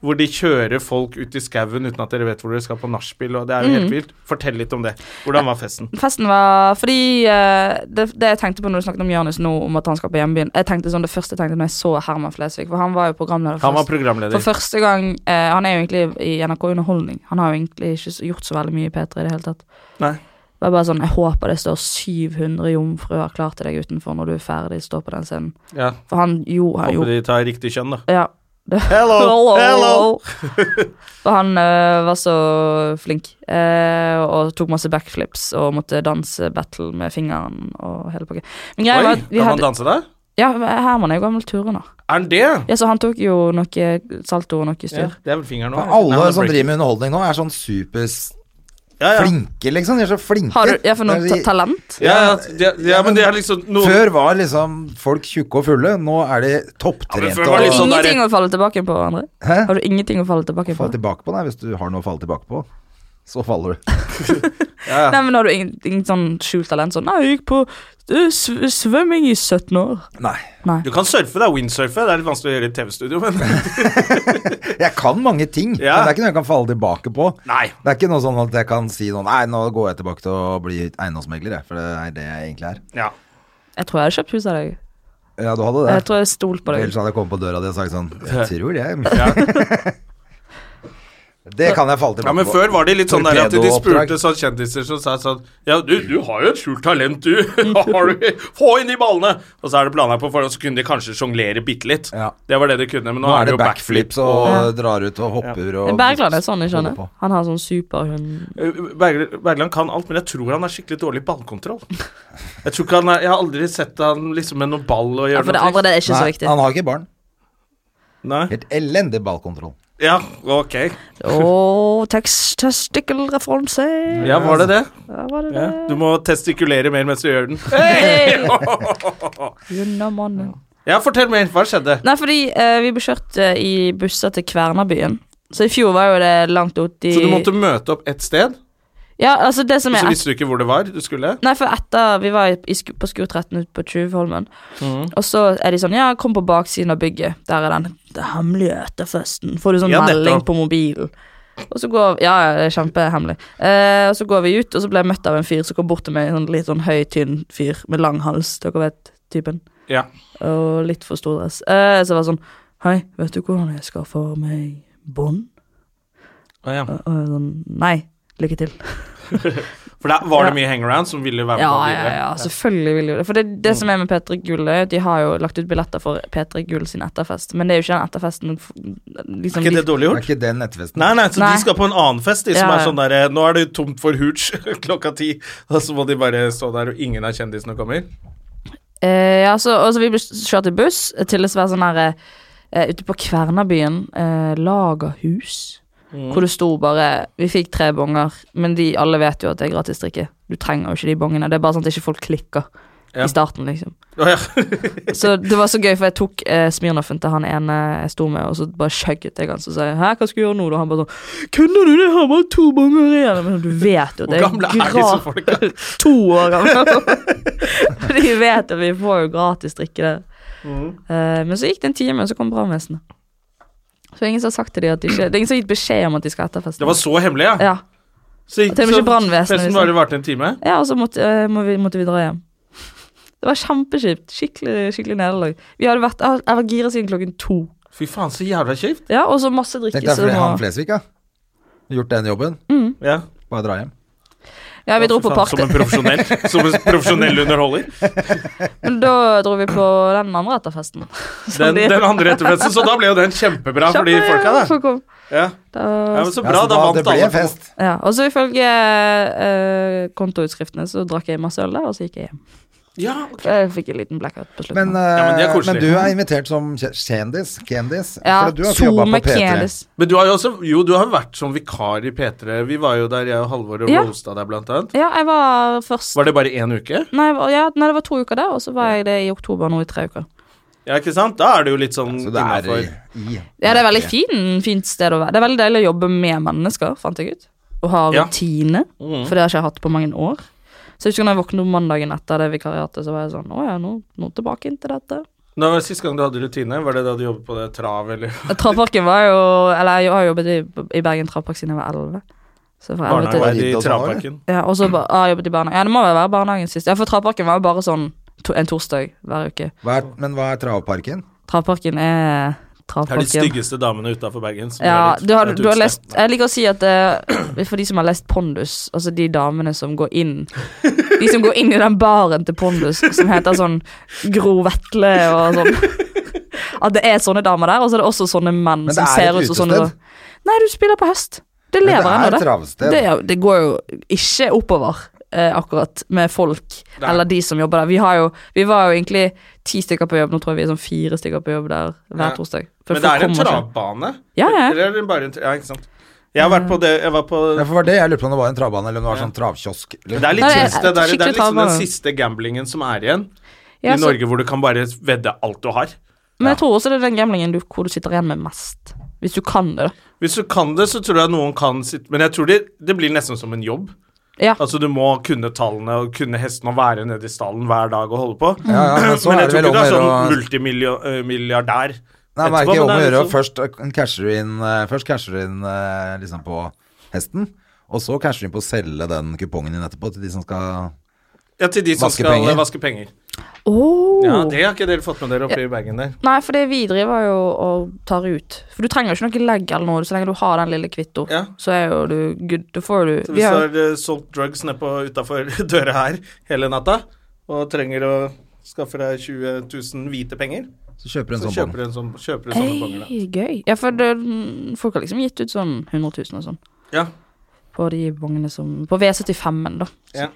A: hvor de kjører folk ut i skauen uten at dere vet hvor dere skal på nachspiel, og det er jo
C: Mm.
A: helt vilt. Fortell litt om det. Hvordan var festen?
C: Festen var Fordi eh, det, det jeg tenkte på når du snakket om Jonis nå, om at han skal på hjembyen Jeg tenkte sånn Det første jeg tenkte når jeg så Herman Flesvig, for han var jo programleder
A: Han var
C: først. For
A: programleder.
C: første gang eh, Han er jo egentlig i NRK Underholdning. Han har jo egentlig ikke så- gjort så veldig mye i P3 i det hele tatt.
A: Nei.
C: Det var bare sånn Jeg håper det står 700 jomfruer klar til deg utenfor når du er ferdig, stå på den scenen.
A: Ja.
C: For han jo
A: Håper
C: han jo
A: de tar riktig kjønn, da.
C: Ja. Det-
A: Hello! Hello!
C: For han eh, var så flink, eh, og tok masse backflips og måtte danse battle med fingeren og hele pakka. Men greia var
A: Oi,
C: at vi
A: kan han
C: hadde
A: danse der?
C: Ja, Herman er jo gammel turner.
A: Er han det?
C: Ja, så han tok jo noe salto og noe styr.
A: Ja, det er vel fingeren nå.
B: For alle som
A: break.
B: driver med underholdning nå, er sånn superflinke,
A: ja, ja.
B: liksom. De er så flinke.
C: Har du ja, for noe
B: Det er
C: ta
B: de-
C: talent?
A: Ja, ja, ja, ja, men det er liksom noen
B: Før var liksom folk tjukke og fulle, nå er de
A: Ja, men
B: topptrente
A: før var
C: Har
A: det
C: du
A: litt
B: og
A: sånn der-
C: ingenting å falle tilbake på, André?
B: Hæ?
C: Har du ingenting å falle tilbake på?
B: Fall tilbake på deg hvis du har noe å falle tilbake på. Så faller du.
C: Nei, men har du ingen, ingen sånn skjult talent? Sånn, nei, jeg gikk på eh, sv svømming i 17 år.
B: Nei.
A: Du kan surfe, det er windsurfe. Det er litt vanskelig å gjøre i et TV-studio, men
B: Jeg kan mange ting,
A: Ja.
B: men det er ikke noe jeg kan falle tilbake på.
A: Nei.
B: Det er ikke noe sånn at jeg kan si noe Nei, nå går jeg tilbake til å bli eiendomsmegler, jeg. For det er det jeg egentlig er.
A: Ja.
C: Jeg tror jeg hadde kjøpt hus av deg.
B: Ja, du hadde
C: Jeg
B: det.
C: tror jeg stolte på
B: Ellers
C: deg.
B: hadde jeg kommet på døra di og sagt sånn Jeg tror det. Det kan jeg falle tilbake på.
A: Ja, men før var det litt sånn der at de
B: Torpedo-oppdrag.
A: spurte sånn kjendiser som sa sånn Ja, du, du har jo et skjult talent, du. Har du. Få inn de ballene! Og så er det planlagt på forhånd, så kunne de kanskje sjonglere bitte litt.
B: Ja.
A: Det var det de kunne, men nå,
B: Nå er det
A: jo backflip.
B: backflips og drar ut og hopper og
C: Bergland er sånn, ikke sant?
B: holder på.
C: Han har sånn superhund
A: Eh, Bergl- Bergland kan alt, men jeg tror han er skikkelig dårlig i ballkontroll. Jeg tror ikke han er Jeg har aldri sett han liksom med noen ball og
C: Ja,
A: gjøre
C: for det
A: noe
C: andre det er ikke så
B: Nei,
C: viktig.
B: han har ikke barn.
A: Nei?
B: Helt elendig ballkontroll.
A: Ja, ok.
C: Ååå, testikkelreferanse.
A: Ja, var det det?
C: Ja, var det
A: Ja.
C: det?
A: Du må testikulere mer mens du gjør den.
C: Unna mannen.
A: Ja, fortell mer. Hva skjedde?
C: Nei, fordi eh, vi ble kjørt eh, i busser til Kvernabyen. Så i fjor var jo det langt ut i
A: Så du måtte møte opp et sted,
C: Ja, altså det som
A: og
C: er
A: så visste du ikke hvor det var du skulle?
C: Nei, for etter Vi var i, i, Sku- på Skur 13 ute på Tjuvholmen.
A: Mhm.
C: Og så er de sånn Ja, kom på baksiden av bygget. Der er den det hemmelige etterfesten. Får du sånn
A: Ja, nettopp.
C: melding på mobilen. Og så går Ja, ja, det er kjempehemmelig. Eh, og så går vi ut, og så ble jeg møtt av en fyr som kom bort til meg. En sånn, litt sånn høy, tynn fyr med lang hals. Dere vet typen.
A: Ja.
C: Og litt for stor dress. Eh, så jeg var sånn Hei, vet du hvordan jeg skaffer meg bånd?
A: Å, ja.
C: Og jeg sånn Nei. Lykke til.
A: For der var det mye hangaround som ville være med
C: Ja,
A: på
C: ja,
A: videre.
C: ja, selvfølgelig vil de det. For det, det som er med P3 Gull, er at de har jo lagt ut billetter for P3 Gull sin etterfest. Men det er jo ikke den etterfesten f-
A: Er
C: liksom,
A: ikke det
C: de,
A: dårlig
B: Det er
A: gjort?
B: ikke den nettfesten.
A: Nei, nei, så
C: Nei.
A: de skal på en annen fest, de som
C: Ja,
A: er
C: ja.
A: sånn derre Nå er det tomt for hooch klokka ti, og så må de bare stå der, og ingen av kjendisene kommer.
C: eh, ja, så, og så vi ble kjørt i buss til et svært sånn her eh, Ute på Kvernabyen, eh, Lagerhus,
A: Mm.
C: hvor det sto bare Vi fikk tre bonger, men de alle vet jo at det er gratis drikke. Du trenger jo ikke de bongene. Det er bare sånn at ikke folk klikker
A: Ja.
C: i starten, liksom.
A: Å ja.
C: Så det var så gøy, for jeg tok eh, Smirnoffen til han ene jeg sto med, og så bare skjøgget jeg han og sa jeg, 'hæ, hva skal jeg gjøre nå?' Og han bare sånn 'Kunne du det? Har bare to bonger igjen.' Men du vet jo det
A: Hvor gamle er disse
C: gratis.
A: folka?
C: To år gamle. For de vet at vi får jo gratis drikke der. Eh, men så gikk det en time, og så kom brannvesenet. Så ingen som har sagt til de at de ikke Det er ingen som har gitt beskjed om at de skal ha etterfest.
A: Det var så hemmelig, ja?
C: Ja.
A: Så
C: Til og med ikke brannvesenet
A: festen
C: visste.
A: bare varte en time?
C: Ja, og så måtte, eh, må vi, måtte vi dra hjem. Det var kjempekjipt. Skikkelig skikkelig nederlag. Vi hadde vært, Jeg var gira siden klokken to.
A: Fy faen, så jævla kjipt.
C: Ja, og så masse drikke.
B: Tenk deg
C: så det
B: fle-
C: må-
B: han Flesvig, ja. Gjort den jobben.
A: Ja.
B: Bare dra hjem.
C: ja, vi dro på
A: Faen,
C: party.
A: Som en profesjonell, som en profesjonell underholder.
C: Men da dro vi på den andre etter festen. Som
A: Den,
C: de-
A: den andre etterfesten, så da ble jo den kjempebra for de
C: Kjappe,
A: folka der.
C: folk kom.
A: Ja. ja,
C: Da,
A: men så
B: Ja,
A: bra,
B: så
A: da vant
B: Altså, det ble
A: alle.
B: en fest.
C: ja, og så ifølge eh, kontoutskriftene så drakk jeg masse øl der, og så gikk jeg hjem.
A: Ja, ok.
C: Jeg fikk en liten blackout på
B: Men,
C: slutten.
A: men det er
B: eh,
A: koselig.
B: men du er invitert som kje- kjendis. Kendis.
C: ja,
B: for du har ikke jobba på
C: SoMe
B: P3.
C: Kelis.
A: Men du har jo også Jo, du har vært som vikar i P3. Vi var jo der, jeg og Halvor og
C: Ja.
A: roasta deg, blant annet.
C: Ja, jeg var først
A: Var det bare én uke?
C: nei, jeg var- ja, nei, det var to uker der, og så var jeg det i oktober nå i tre uker.
A: Ja, ikke sant? Da er det jo litt sånn
B: Så Altså, det er i,
A: innenfor.
B: i
C: Ja, det er veldig fin, fint sted å være. Det er veldig deilig å jobbe med mennesker, fant jeg ut. Og ha
A: Ja.
C: rutine,
B: Mm.
C: for det har jeg ikke hatt på mange år. Så jeg husker når jeg våknet om mandagen etter det vikariatet, så var jeg sånn Å ja, nå, nå tilbake inn til dette.
A: Når var det sist gang du hadde rutine? Var det da du jobbet på det trav, eller
C: Travparken var jo Eller jeg har jobbet i, i Bergen Travpark siden jeg var 11. Så fra 11 til,
B: var
A: barnearbeid i
B: dit og sånn,
A: travparken?
C: ja, og så ba- har jeg jobbet i barnehagen. Ja, det må vel være barnehagen sist. Ja, for Travparken var jo bare sånn to, en torsdag hver uke.
B: hva er, men hva er travparken?
C: Travparken er
A: Det er de
C: Travparken.
A: styggeste damene utafor Bergen. som
C: Ja,
A: er litt-
C: du har,
A: et
C: du har
A: utsted.
C: lest Jeg liker å si at eh, for de som har lest Pondus, altså de damene som går inn De som går inn i den baren til Pondus som heter sånn Gro Vetle og sånn At det er sånne damer der, og så er det også sånne menn
B: Men det
C: som
B: er et
C: ser ut som sånne
B: utested.
C: Nei, du spiller på hest. Det
B: Men
C: lever
B: det
C: ennå,
B: er
C: det.
B: travsted.
C: Det, er jo- det går jo ikke oppover eh, akkurat med folk eller de som jobber der. Vi, har jo, vi var jo egentlig ti stykker på jobb, nå tror jeg vi er sånn fire stykker på jobb der
A: Ja.
C: hver torsdag. For
A: Men det
C: folk
A: er en
C: kommer ikke.
A: travbane?
C: Ja, ja. Mm.
A: Eller er det bare en tra- Ja, ikke sant. Jeg har vært på det Jeg var på
B: Derfor var det jeg lurte på om det var en travbane eller om det var sånn travkiosk.
A: Men det er
C: Nei,
A: litt
C: det er
A: trist. Det, der, det er
C: skikkelig
A: liksom den
C: travbane.
A: siste gamblingen som er igjen
C: Ja,
A: i
C: så-
A: Norge, hvor du kan bare vedde alt du har.
C: Men jeg tror også det er den gamlingen du, hvor du sitter igjen med mest. Hvis du kan det, da.
A: Hvis du kan det, så tror jeg noen kan sitt Men jeg tror det, det blir nesten som en jobb.
C: Ja.
A: Altså, du må kunne tallene og kunne hestene og være nede i stallen hver dag og holde på.
B: Ja, ja, men så
A: men
B: er det
A: jeg
B: vel
A: tror ikke
B: om
A: du
B: å
A: er
B: gjøre
A: sånn
B: å-
A: multimilliardær.
B: Nei, men det er ikke om å gjøre
A: liksom-
B: først eh, casher du inn, eh, først casher du inn eh, liksom på hesten, og så casher du inn på å selge den kupongen din etterpå til de som skal
A: Ja, til de som
B: Vaske
A: skal
B: penger.
A: eh, vaske penger.
C: Oh.
A: Ja, det har ikke dere fått med dere oppe i bagen der.
C: Nei, for det vi driver jo og tar ut. For du trenger jo ikke noe legg eller noe, så lenge du har den lille kvitto,
A: Ja.
C: så er jo du good. Da får du
A: Så
C: vi
A: hvis
C: har-
A: du har eh, solgt drugs nedpå utafor døra her hele natta, og trenger å skaffe deg 20 000 hvite penger,
B: Så kjøper du en
A: så
B: sånn
A: kjøper
B: bånd.
A: du en sånn, kjøper du sånne bonger, da.
C: Ei, gøy. Ja, for det, mm, folk har liksom gitt ut sånn 100 000 og sånn
A: Ja.
C: på de bongene som På V75-en, da.
A: Ja.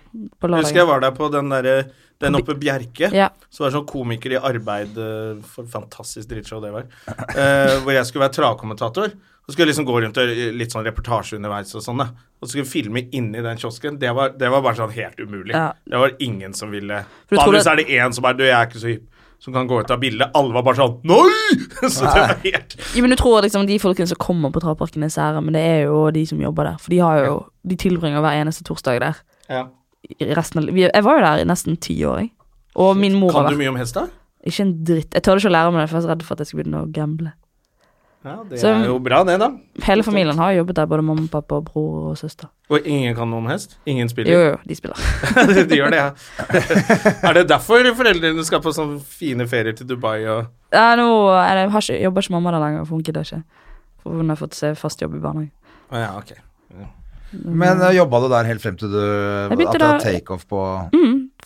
C: På
A: Jeg husker jeg
C: lørdagen.
A: var der på den derre Den oppe Bjerke.
C: Ja.
A: Så var det sånn komiker i arbeid eh, For fantastisk dritshow det var. Eh, hvor jeg skulle være travkommentator. Så skulle jeg liksom gå rundt og gjøre litt sånn reportasje underveis og sånn, da. Og så skulle jeg filme inni den kiosken. Det var, det var bare sånn helt umulig.
C: Ja.
A: Det var ingen som ville
C: du tror
A: Vanligvis
C: det-
A: er det én som er Du, jeg er ikke så hypp. Som kan gå ut av bildet. Alle var bare sånn Nei! Så det var helt
C: Ja, men du tror liksom de folkene som kommer på travparken er sære, men det er jo de som jobber der. For de har jo De tilbringer hver eneste torsdag der.
A: ja.
C: I resten av, vi- jeg var jo der i nesten ti år, jeg. Og min mor har
A: Kan du
C: vært
A: mye om hest, da?
C: Ikke en dritt. Jeg tør ikke å lære meg det, for jeg er så redd for at jeg skal begynne å gamble.
A: Ja, det
C: Så-
A: er jo bra, det, da.
C: Hele familien har jobbet der, både mamma, pappa, bror og søster.
A: Og ingen kan noe om hest? Ingen spiller?
C: Jo, jo, de spiller.
A: de gjør det, ja. er det derfor foreldrene skal på sånne fine ferier til Dubai og
C: Ja, nå er det, har ikke, jobber ikke mamma der lenger, for hun gidder ikke. For hun har fått seg fast jobb i barnehagen.
A: Å ja, ok. Mm.
B: Men uh, jobba du der helt frem til du At
C: begynte
B: det var
C: da- Mm,
B: takeoff på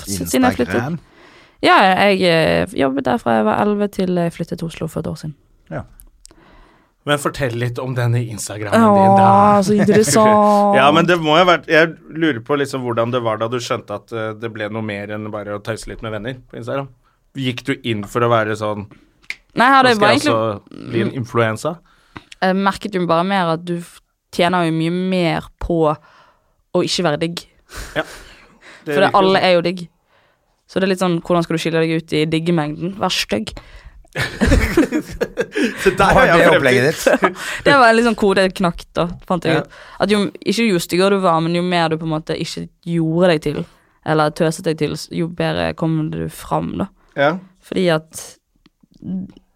C: Siden jeg flyttet.
B: Instagram?
C: Ja, jeg eh, jobbet der fra jeg var 11 til jeg flyttet til Oslo for et år siden.
A: Men fortell litt om denne Instagrammen din,
C: Åh,
A: da.
C: så interessant.
A: Ja, men det må jo ha vært Jeg lurer på liksom hvordan det var da du skjønte at eh, det ble noe mer enn bare å tause litt med venner på Instagram. Gikk du inn for å være sånn Nå
C: Nei, her, det
A: skal
C: var
A: jeg
C: egentlig, Mm.
A: altså bli en influensa?
C: jeg merket jo bare mer at du f- tjener jo mye mer på å ikke være digg. For det, alle
A: altså.
C: er jo digg. Så det er litt sånn, hvordan skal du skille deg ut i diggemengden? Vær stygg.
A: Det der
B: Hva
A: har
B: er det
A: jeg
B: opplegget
A: fremtid.
B: ditt?
C: Det var en litt sånn kode jeg knakk, da, fant jeg
A: Ja.
C: ut. At jo, ikke jo styggere du var, men jo mer du på en måte ikke gjorde deg til, eller tøset deg til, jo bedre kom du fram, da.
A: Ja.
C: Fordi at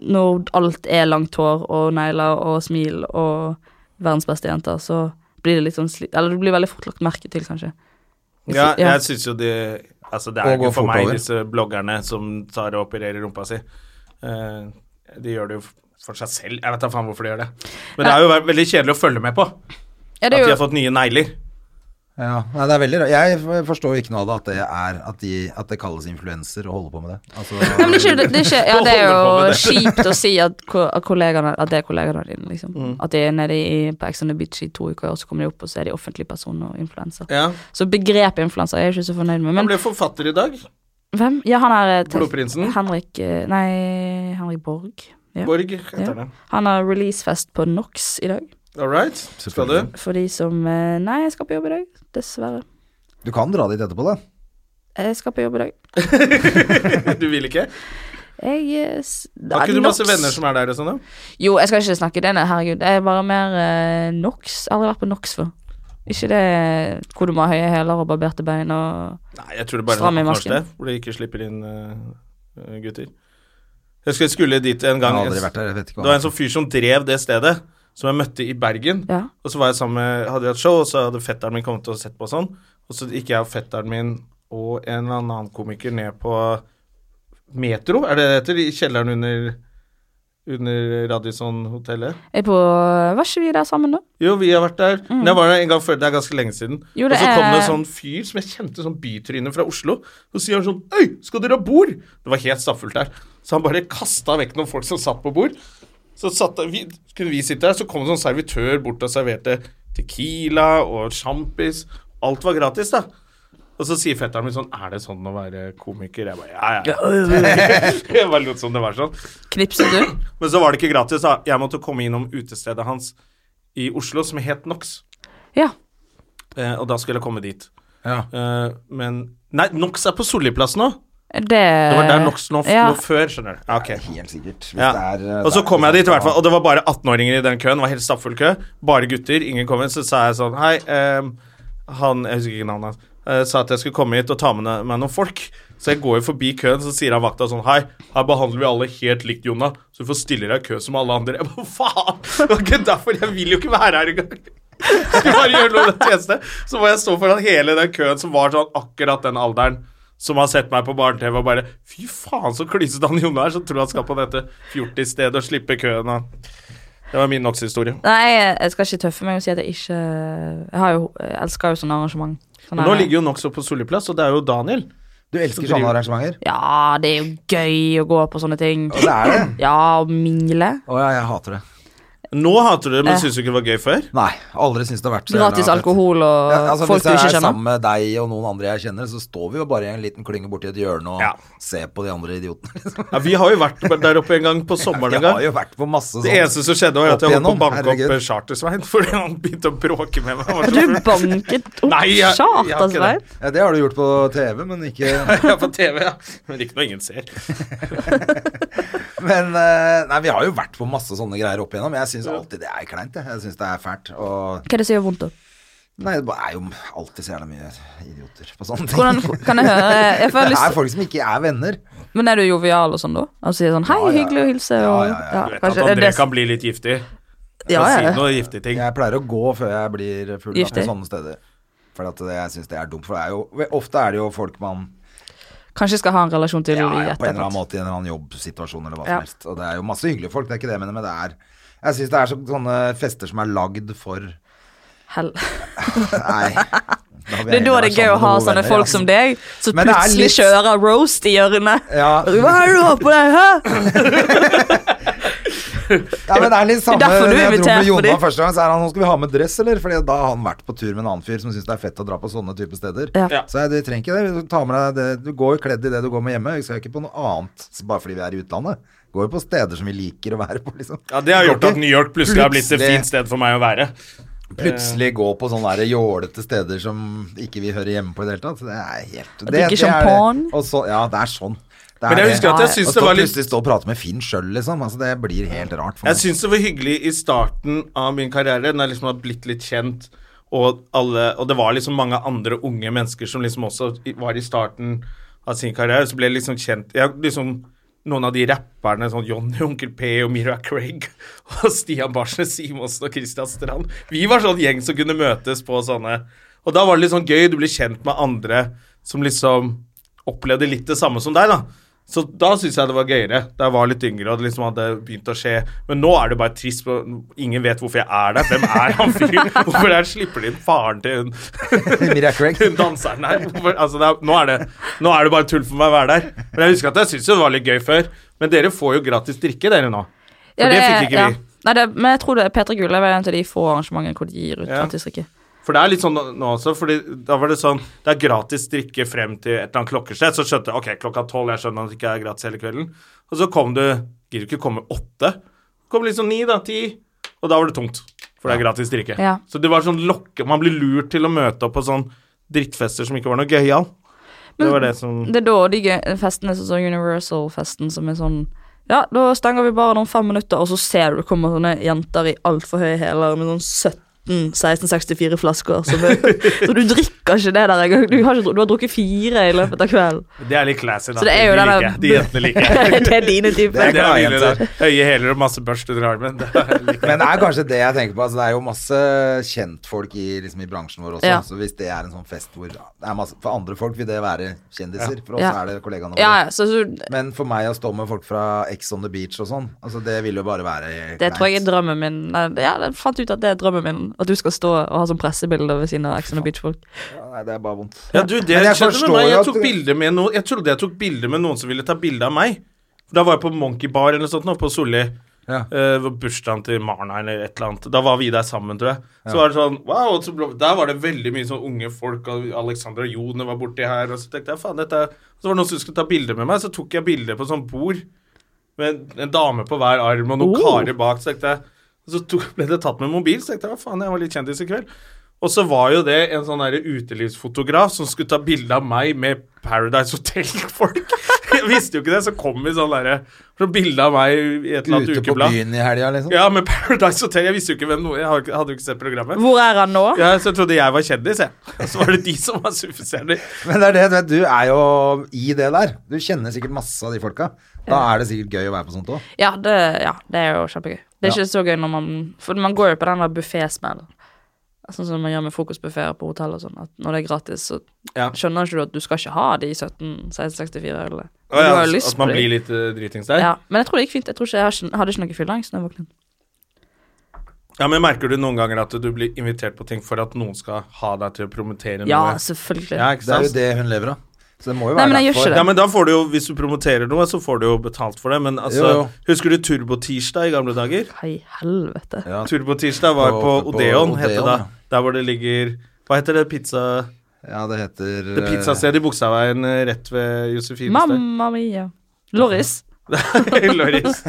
C: når alt er langt hår og negler og smil og verdens beste jenter, så blir det litt sånn sli... Eller du blir veldig fort lagt merke til, kanskje. Hvis-
A: Ja,
C: ja.
A: jeg syns jo de Altså, det er
B: Og
A: ikke
B: gå
A: for
B: fort
A: meg,
B: over.
A: disse bloggerne som tar og opererer rumpa si. Eh, de gjør det jo f- for seg selv. Jeg vet da faen hvorfor de gjør det. Men det er jo ve- veldig kjedelig å følge med på.
C: Ja,
A: At
C: det
A: de
C: er
A: har
C: jo,
A: fått nye negler.
B: Ja, nei, det er veldig rart. Jeg forstår jo ikke noe av det at det, er, at de, at det kalles influenser å holde på med det.
C: Nei,
B: Altså,
C: men det er ikke, det er ikke, ja, det er
A: Holder på
C: jo
A: med
C: kjipt å si at, ko- at, kollegaene, at det er kollegaene dine, liksom.
A: Mm.
C: At de er nede i, på Ex on the Beach i to uker, og så kommer de opp, og så er de offentlige personer og influenser.
A: Ja.
C: Så begrepet influenser er jeg ikke så fornøyd med.
A: Han
C: Men
A: ble forfatter i dag.
C: hvem? Ja, han er eh, te-
A: Blodprinsen.
C: Henrik eh, Nei, Henrik Borg. Ja.
A: Borg heter
C: Ja.
A: det.
C: Han har releasefest på NOX i dag.
A: All right. Skal du?
C: For de som eh, Nei, jeg skal på jobb i dag, dessverre.
B: du kan dra dit etterpå, da.
C: Jeg skal på jobb i dag.
A: Du vil ikke?
C: Jeg eh, s-
A: Har
C: Nei,
A: ikke du masse
C: Nox.
A: venner som er der og sånn? da?
C: Jo, jeg skal ikke snakke det, nei, herregud. Jeg er bare mer eh, NOX. Jeg har Aldri vært på NOX før. Ikke det hvor du må ha høye hæler og barberte bein og
A: Nei, jeg tror det bare
C: Stram i
A: er noe
C: masken.
A: sted hvor de ikke slipper inn eh, gutter. Jeg husker jeg skulle dit en
B: Jeg
A: gang.
B: har aldri vært der, jeg vet ikke
A: Det var
B: hva.
A: en sånn fyr som drev det stedet, som jeg møtte i Bergen.
C: Ja.
A: Og så var jeg sammen med, hadde vi et show, og så hadde fetteren min kommet og sett på og sånn. Og så gikk jeg og fetteren min og en eller annen komiker ned på Metro, er det det heter? I kjelleren under, under Radisson-hotellet.
C: Jeg er på eh, Var ikke vi der sammen, da?
A: Jo, vi har vært der. Men jeg var der en gang før, det er ganske lenge siden.
C: Jo,
A: og
C: det
A: så kom det
C: er-
A: en sånn fyr som jeg kjente, sånn bytryne fra Oslo. Så sier han sånn Øy, skal dere ha bord? Det var helt stappfullt der. Så han bare kasta vekk noen folk som satt på bord. Så satt, vi, kunne vi sitte der, så kom det en sånn servitør bort og serverte tequila og sjampis. Alt var gratis, da. Og så sier fetteren min sånn Er det sånn å være komiker? Jeg bare ja, ja. jeg bare lot som det var sånn.
C: Knipset du?
A: Men så var det ikke gratis, da. Jeg måtte komme innom utestedet hans i Oslo som het Nox.
C: Ja.
A: Eh, og da skulle jeg komme dit.
B: Ja.
A: Eh, men Nei, Nox er på Solliplass nå!
C: Det
A: Det var der Nox nå,
C: Eh, ja.
A: nå før, skjønner du. Ja, ok.
B: Helt sikkert. Hvis
A: Ja.
B: det er, eh,
A: Og så
B: der,
A: kom jeg
B: liksom,
A: dit, i hvert fall, og det var bare 18-åringer i den køen. Det var helt stappfull kø. Bare gutter. Ingen kom inn. Så sa jeg sånn Hei, ehm, han Jeg husker ikke navnet hans. eh, sa at jeg skulle komme hit og ta med ne- meg noen folk. Så jeg går jo forbi køen, så sier han vakta sånn Hei, her behandler vi alle helt likt, Jonna. Så du får stille deg i kø som alle andre. Jeg bare faen! Det var ikke derfor. Jeg vil jo ikke være her engang. Skulle bare gjøre noen tjeneste. Så må jeg stå foran hele den køen som var sånn akkurat den alderen. Som har sett meg på barne-TV og bare Fy faen, så klysete han Jonna er, som tror han skal på dette fjortisstedet og slippe køen. og- Det var min NOx-historie.
C: Nei, jeg jeg skal ikke tøffe meg og si at jeg ikke eh, Jeg har jo, jeg elsker jo sånne arrangement. Sånne
A: Nå ligger jo NOx oppe på Solliplass, og det er jo Daniel.
B: Du elsker sånne arrangementer?
C: Ja, det er jo gøy å gå på sånne ting.
B: Og det er det.
C: Ja, og mingle.
B: Å ja, jeg hater det.
A: Nå hater du det, men syns du ikke det var gøy før?
B: Nei, aldri syns det har vært så jævla
C: Gratis
B: fett.
C: alkohol og
B: Ja, altså,
C: folk du
B: Hvis
C: ikke
B: jeg er
C: kjenner.
B: sammen med deg og noen andre jeg kjenner, så står vi jo bare i en liten klynge borti et hjørne og
A: Ja.
B: ser på de andre idiotene. Liksom.
A: Ja, vi har jo vært der oppe en gang på sommeren en
B: Jeg har
A: gang.
B: jo vært på masse sånn
A: Det eneste som skjedde, var
B: Opp
A: at jeg holdt på å
B: igjennom,
A: banke opp
B: herregud.
A: eh, Chartersvein fordi han begynte å bråke med meg. Han var sånn, så
C: Har du
A: full.
C: banket opp altså,
A: Nei, jeg- jeg har
C: Charter,
A: ikke det.
C: Svein?
B: Ja, det har du gjort på TV, men ikke
A: Ja, på TV, ja. Men ikke noe ingen ser.
B: Men eh, nei, vi har jo vært på masse sånne greier opp igjennom. Jeg syns alltid det er kleint, jeg. Jeg syns det er fælt. Og
C: Hva er det som gjør vondt, da?
B: nei, det er jo alltid så jævla mye idioter på sånne ting.
C: Hvordan kan jeg høre jeg får
B: Det
C: lyst,
B: er folk som ikke er venner.
C: Men er du jovial og sånn, da? Og sier sånn 'hei,
B: Ja, ja, ja.
C: hyggelig å hilse'
B: Ja,
C: og
B: ja, ja.
A: Du vet
C: kanskje-
A: at
C: er
A: André
C: det-
A: kan bli litt giftig.
C: ja,
A: Kan
C: ja,
A: si
C: ja.
A: noe giftige ting.
B: Jeg pleier å gå før jeg blir full da, på
C: Giftig.
B: sånne steder. For at det, jeg syns det er dumt. For det er jo, ofte er det jo folk man
C: Kanskje jeg skal ha en relasjon til
B: ja,
C: i
B: ja, på en eller annen
C: etterkant.
B: måte i en eller annen jobbsituasjon eller hva
C: Ja.
B: som helst. Og det er jo masse hyggelige folk, det er ikke det jeg mener, men det er Jeg syns det er så, sånne fester som er lagd for Nei.
C: Hell.
B: Da vil
C: Det
B: jeg
C: er da
B: heller
C: det er
B: være
C: gøy å
B: sammen
C: ha
B: med sånn gode
C: sånne
B: venner,
C: folk
B: ja.
C: som deg, som
B: Men det er
C: plutselig
B: litt-
C: kjører roast i hjørnet.
B: Ja.
C: Hva er det du har på deg, hæ?
B: Ja, men det er litt samme
C: Det er derfor du
B: når Jeg dro
C: inviterer,
B: med Jonna
C: fordi-
B: første gang, så er han Nå skal vi ha med dress, eller? Fordi da har han vært på tur med en annen fyr som syns det er fett å dra på sånne type steder.
C: Ja.
A: Ja.
B: Så jeg, du trenger ikke det. Du tar med deg det Du går jo kledd i det du går med hjemme. Vi skal jo ikke på noe annet så bare fordi vi er i utlandet. Går jo på steder som vi liker å være på, liksom.
A: Ja, Det har
B: Går
A: gjort at
B: ikke
A: New York plutselig har blitt et
B: plutselig-
A: fint sted for meg å være.
B: Plutselig gå på sånne der jålete steder som ikke vi hører hjemme på i det hele tatt. Det er helt det,
C: drikke
B: det er-
C: champagne.
B: Og så, ja, det er sånn. Det
A: Men
B: er
A: jeg husker
B: det.
A: at jeg synes
B: Og
A: det
B: stå-
A: var litt
B: Plutselig stå og prate med Finn sjøl, liksom. Altså, det blir helt rart for
A: Jeg
B: meg.
A: syns det var hyggelig i starten av min karriere, når jeg liksom hadde blitt litt kjent, og, alle, og det var liksom mange andre unge mennesker som liksom også i- var i starten av sin karriere, så ble jeg liksom kjent jeg, liksom, Noen av de rapperne, sånn Johnny Onkel P og Mira Craig og Stian Barsnes Simonsen og Christian Strand Vi var sånn gjeng som kunne møtes på sånne Og da var det litt sånn gøy, du ble kjent med andre som liksom opplevde litt det samme som deg, da. Så da syns jeg det var gøyere, da jeg var litt yngre og det liksom hadde begynt å skje. Men nå er det bare trist. og Ingen vet hvorfor jeg er der. Hvem er han fyren? Hvorfor der slipper de inn faren til hun,
B: Miriam Craig.
A: hun danseren her? Hvorfor, altså det er, nå, er det, nå er det bare tull for meg å være der. Men jeg husker at jeg syntes det var litt gøy før. Men dere får jo gratis drikke, dere nå. For det,
C: er-
A: fikk ikke
C: ja.
A: vi.
C: Nei, det, men jeg tror det er Petra Gullhaug er en av de få arrangementene hvor de gir ut
A: Ja.
C: gratis drikke.
A: For det er litt sånn nå også, fordi da var det sånn Det er gratis drikke frem til et eller annet klokkeslett. Så skjønte jeg ok, klokka tolv, jeg skjønner at det ikke er gratis hele kvelden. Og så kom du Gidder du ikke komme åtte? Kom liksom ni, da. Ti. Og da var det tungt. For det er gratis drikke.
C: Ja.
A: Så det var sånn lokke Man blir lurt til å møte opp på sånn drittfester som ikke var noe gøyal. Det var det som
C: Det er da de gøy- festene som sånn Universal-festen som er sånn Ja, da stenger vi bare om fem minutter, og så ser du det kommer sånne jenter i altfor høye hæler med sånn 17 1664-flasker. Så, så du drikker ikke det der engang. Du, har ikke dru- du har drukket fire i løpet av kvelden.
A: Det er litt classy, da.
C: Så det er jo
A: de,
C: den
A: liker jeg. de jentene liker jeg.
C: det er dine typer.
A: Det
B: Ja,
A: er mine
B: jenter.
A: der. Høye hæler og masse børst under armen. Det er litt-
B: Men det er kanskje det jeg tenker på. Altså, det er jo masse kjentfolk i, liksom, i bransjen vår også.
C: Ja.
B: Så hvis det er en sånn fest hvor det er masse, For andre folk vil det være kjendiser. For oss
C: Ja.
B: er det kollegaene våre.
C: Ja, ja, så, så
B: Men for meg å stå med folk fra Ex on the Beach og sånn, altså det vil jo bare være
C: Det
B: kleint.
C: tror jeg er drømmen min. Nei, Ja, jeg fant ut at det er drømmen min. At du skal stå og ha sånn pressebilder ved siden av Ex on the Beach-folk.
B: Ja, Nei, det er bare vondt.
A: Ja, du, det
B: Men jeg
A: skjedde med
B: forstår
A: meg.
B: jo
A: Jeg,
B: at
A: tok
B: det-
A: bilder med noen, jeg trodde jeg tok bilde med noen som ville ta bilde av meg. Da var jeg på Monkey Bar eller noe sånt, nå, på Solli.
B: Ja.
A: Eh, hvor bursdagen til Marna eller et eller annet. Da var vi der sammen, tror jeg. Så var det sånn wow, og så ble, Der var det veldig mye sånn unge folk, og Alexandra Jone var borti her, og så tenkte jeg faen, dette er Så var det noen som skulle ta bilde med meg, så tok jeg bilde på sånn bord med en, en dame på hver arm og noen
C: Oh.
A: karer bak, så tenkte jeg og Så tok, ble det tatt med mobil, så tenkte jeg hva faen, jeg var litt kjendis i kveld. Og så var jo det en sånn der utelivsfotograf som skulle ta bilde av meg med Paradise Hotel-folk. Jeg visste jo ikke det, så kom vi sånn derre så Bilde av meg i et eller annet
B: Ute på
A: ukeblad.
B: byen i helga, liksom.
A: Ja, med Paradise Hotel. Jeg visste jo ikke hvem noe, jeg har ikke- hadde jo ikke sett programmet.
C: Hvor er han nå?
A: Ja, så jeg trodde jeg var kjendis, jeg. Og så var det de som var superstjerner.
B: Men det er det, du vet, du er jo i det der. Du kjenner sikkert masse av de folka. Da er det sikkert gøy å være på sånt òg.
C: Ja, det, ja, det er jo kjempegøy. Det
B: Ja.
C: er ikke så gøy når man For man går jo på den der buffésmellen. Sånn som man gjør med frokostbuffeer på hotell og sånn. At når det er gratis, så
A: Ja.
C: skjønner ikke du at du skal ikke ha de 17-1664 ølene.
A: Å ja,
C: Du
A: altså,
C: har jo
A: at
C: lyst på
A: man blir
C: de.
A: litt eh, dritings der. Ja.
C: Ja, men jeg tror det gikk fint. Jeg tror ikke jeg har ikke- hadde ikke noe fylleangst da jeg våknet.
A: Men merker du noen ganger at du blir invitert på ting for at noen skal ha deg til å promotere
C: Ja,
A: noe?
C: selvfølgelig.
A: Ja, ikke
B: Det er jo
A: sant?
B: det hun lever av. Så det må jo
C: Nei,
B: være
C: men jeg gjør
B: derfor.
C: ikke
A: Ja, men da får du jo, Hvis du promoterer noe, så får du jo betalt for det. Men altså,
B: Jo, jo.
A: husker du Turbo-tirsdag i gamle dager?
C: Hei, helvete.
B: Ja.
A: Turbo-tirsdag var
B: På-
A: på,
B: på
A: Odeon, het det
B: Odeon,
A: da.
B: ja.
A: Der hvor det ligger Hva heter det pizza...
B: Ja, det heter
A: Det
B: eh,
A: pizzastedet i Buksaveien eh, rett ved Josefines der.
C: Mamma mia. Loris.
A: Loris.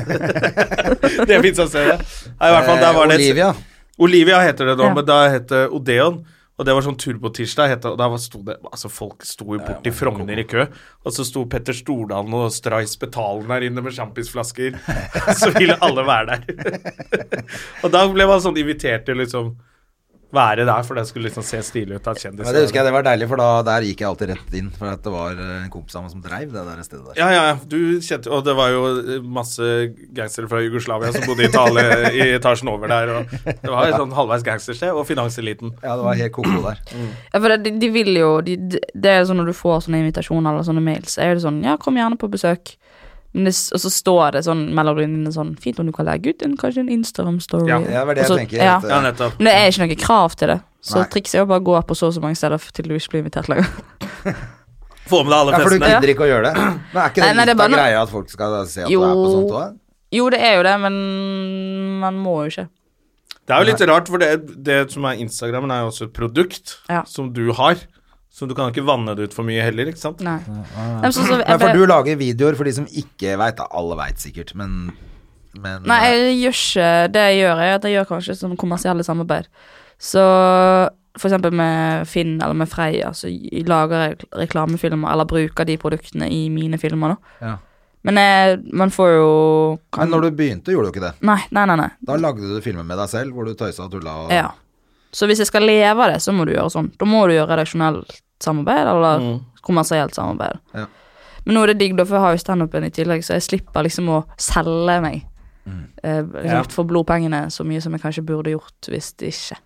A: det er pizzastedet. Nei, i hvert fall,
B: eh,
A: der var det
B: Olivia.
A: Olivia heter det nå,
C: Ja.
A: men da heter det Odeon. Og det var sånn turbotirsdag, het det, og der var- sto det Altså, folk sto jo bort til Frogner i kø, og så sto Petter Stordalen og Strais Betalen der inne med sjampisflasker, så ville alle være der. og da ble man sånn invitert til liksom være der, for det skulle liksom se stilig ut av kjendiser.
B: Men det husker jeg det var deilig, for da der gikk jeg alltid rett inn. For at det var eh, en kompis av meg som dreiv det der stedet der.
A: Ja, ja, ja. du kjente Og det var jo masse gangstere fra Jugoslavia som bodde i, Itali, i etasjen over der. Og det var jo sånn halvveis gangstersted, og finanseliten.
B: Ja, det var helt koko der.
C: Ja, for det, de, de vil jo de, de, Det er jo sånn når du får sånne invitasjoner eller sånne mails, så er det sånn Ja, kom gjerne på besøk. Men det, s- og så står det sånn mellom linjene sånn Fint om du kan legge ut en, kanskje en Instagram-story.
A: Ja,
B: Ja, det var det
C: Og så-
B: jeg tenker.
C: ja.
B: at, eh,
A: Ja, nettopp.
C: Men det er ikke noe krav til det. Så
B: Nei.
C: trikset er jo bare å gå på så og så mange steder f- til du ikke blir invitert lenger.
A: Få med deg alle
B: Ja, for du
A: festene.
B: gidder ikke å gjøre det? Men er ikke det
C: Nei, nei, det er
B: litt
C: bare
B: av
C: noe-
B: greia at folk skal se at
C: Jo.
B: du er på sånt òg?
C: Jo, det er jo det, men man må jo ikke.
A: Det er jo litt rart, for det, det som er Instagramen, er jo også et produkt
C: Ja.
A: som du har. Så du kan ikke vanne det ut for mye heller,
B: Mm.
A: ikke sant?
C: Nei. Nei, men sånn som-
B: Nei,
C: jeg
B: for
C: ble-
B: du lager videoer for de som ikke veit, da. Alle veit sikkert, men, men
C: Nei, jeg gjør ikke det jeg gjør, er at jeg gjør kanskje sånn kommersielle samarbeid. Så for eksempel med Finn eller med Freia, så jeg lager jeg reklamefilmer eller bruker de produktene i mine filmer, da.
B: eh, Ja.
C: Men jeg, man får jo
B: Men når du begynte, gjorde du ikke det.
C: Nei, nei, nei. nei.
B: Da lagde du filmer med deg selv hvor du tøysa og tulla. Og...
C: Ja. Så hvis jeg skal leve av det, så må du gjøre sånn. Da må du gjøre redaksjonelt samarbeid eller
A: Mm.
C: kommersielt samarbeid.
B: Ja.
C: Men nå er det digg, da, for jeg har jo standupen i tillegg, så jeg slipper liksom å selge meg. Eh, liksom,
A: Mm. Ja.
C: For blodpengene så mye som jeg kanskje burde gjort hvis det ikke.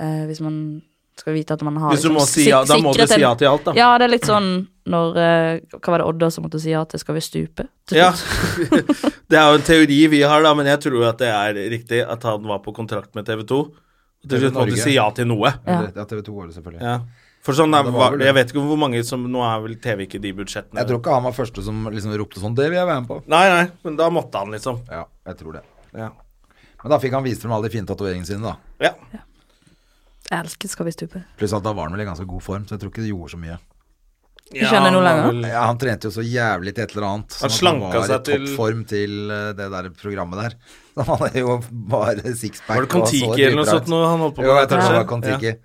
C: Eh, hvis man Skal vite at man har
A: Hvis du
C: liksom
A: må si
C: sik-
A: ja, da må du
C: sikret
A: si
C: en-
A: ja til alt, da.
C: Ja, det er litt sånn når eh, Hva var det Odda som måtte si ja til Skal vi stupe? Til
A: Ja.
C: slutt.
A: Det er jo en teori vi har, da, men jeg tror at det er riktig at han var på kontrakt med TV 2. Og
B: TV
A: til slutt måtte
B: Norge.
A: si ja til noe.
C: Ja.
B: Ja, TV 2 var det selvfølgelig.
A: Ja. For sånn er,
B: Det var vel det.
A: Jeg vet ikke hvor mange som Nå er vel TV ikke de budsjettene.
B: Jeg tror ikke han var første som liksom ropte sånn 'Det vil jeg være med på'.
A: Nei, nei, men da måtte han, liksom.
B: Ja, jeg tror det.
A: Ja.
B: Men da fikk han vist frem alle de fine tatoveringene sine, da.
A: ja.
C: Jeg elsker Skal vi stupe.
B: Pluss at da var han vel i ganske god form, så jeg tror ikke det gjorde så mye.
A: ja
C: skjønner
A: han
C: noe
A: var
C: lenger.
A: vel-
B: Ja, han trente jo så jævlig til et eller annet. sånn at var
A: slanka Mm. seg
B: i
A: til-
B: toppform til eh, det der programmet der. Så han hadde jo bare sixpack.
A: Var det Kon-Tiki eller noe sånt noe han holdt på
B: med? Jo, jeg tror det
A: kanskje?
B: var Kon-Tiki.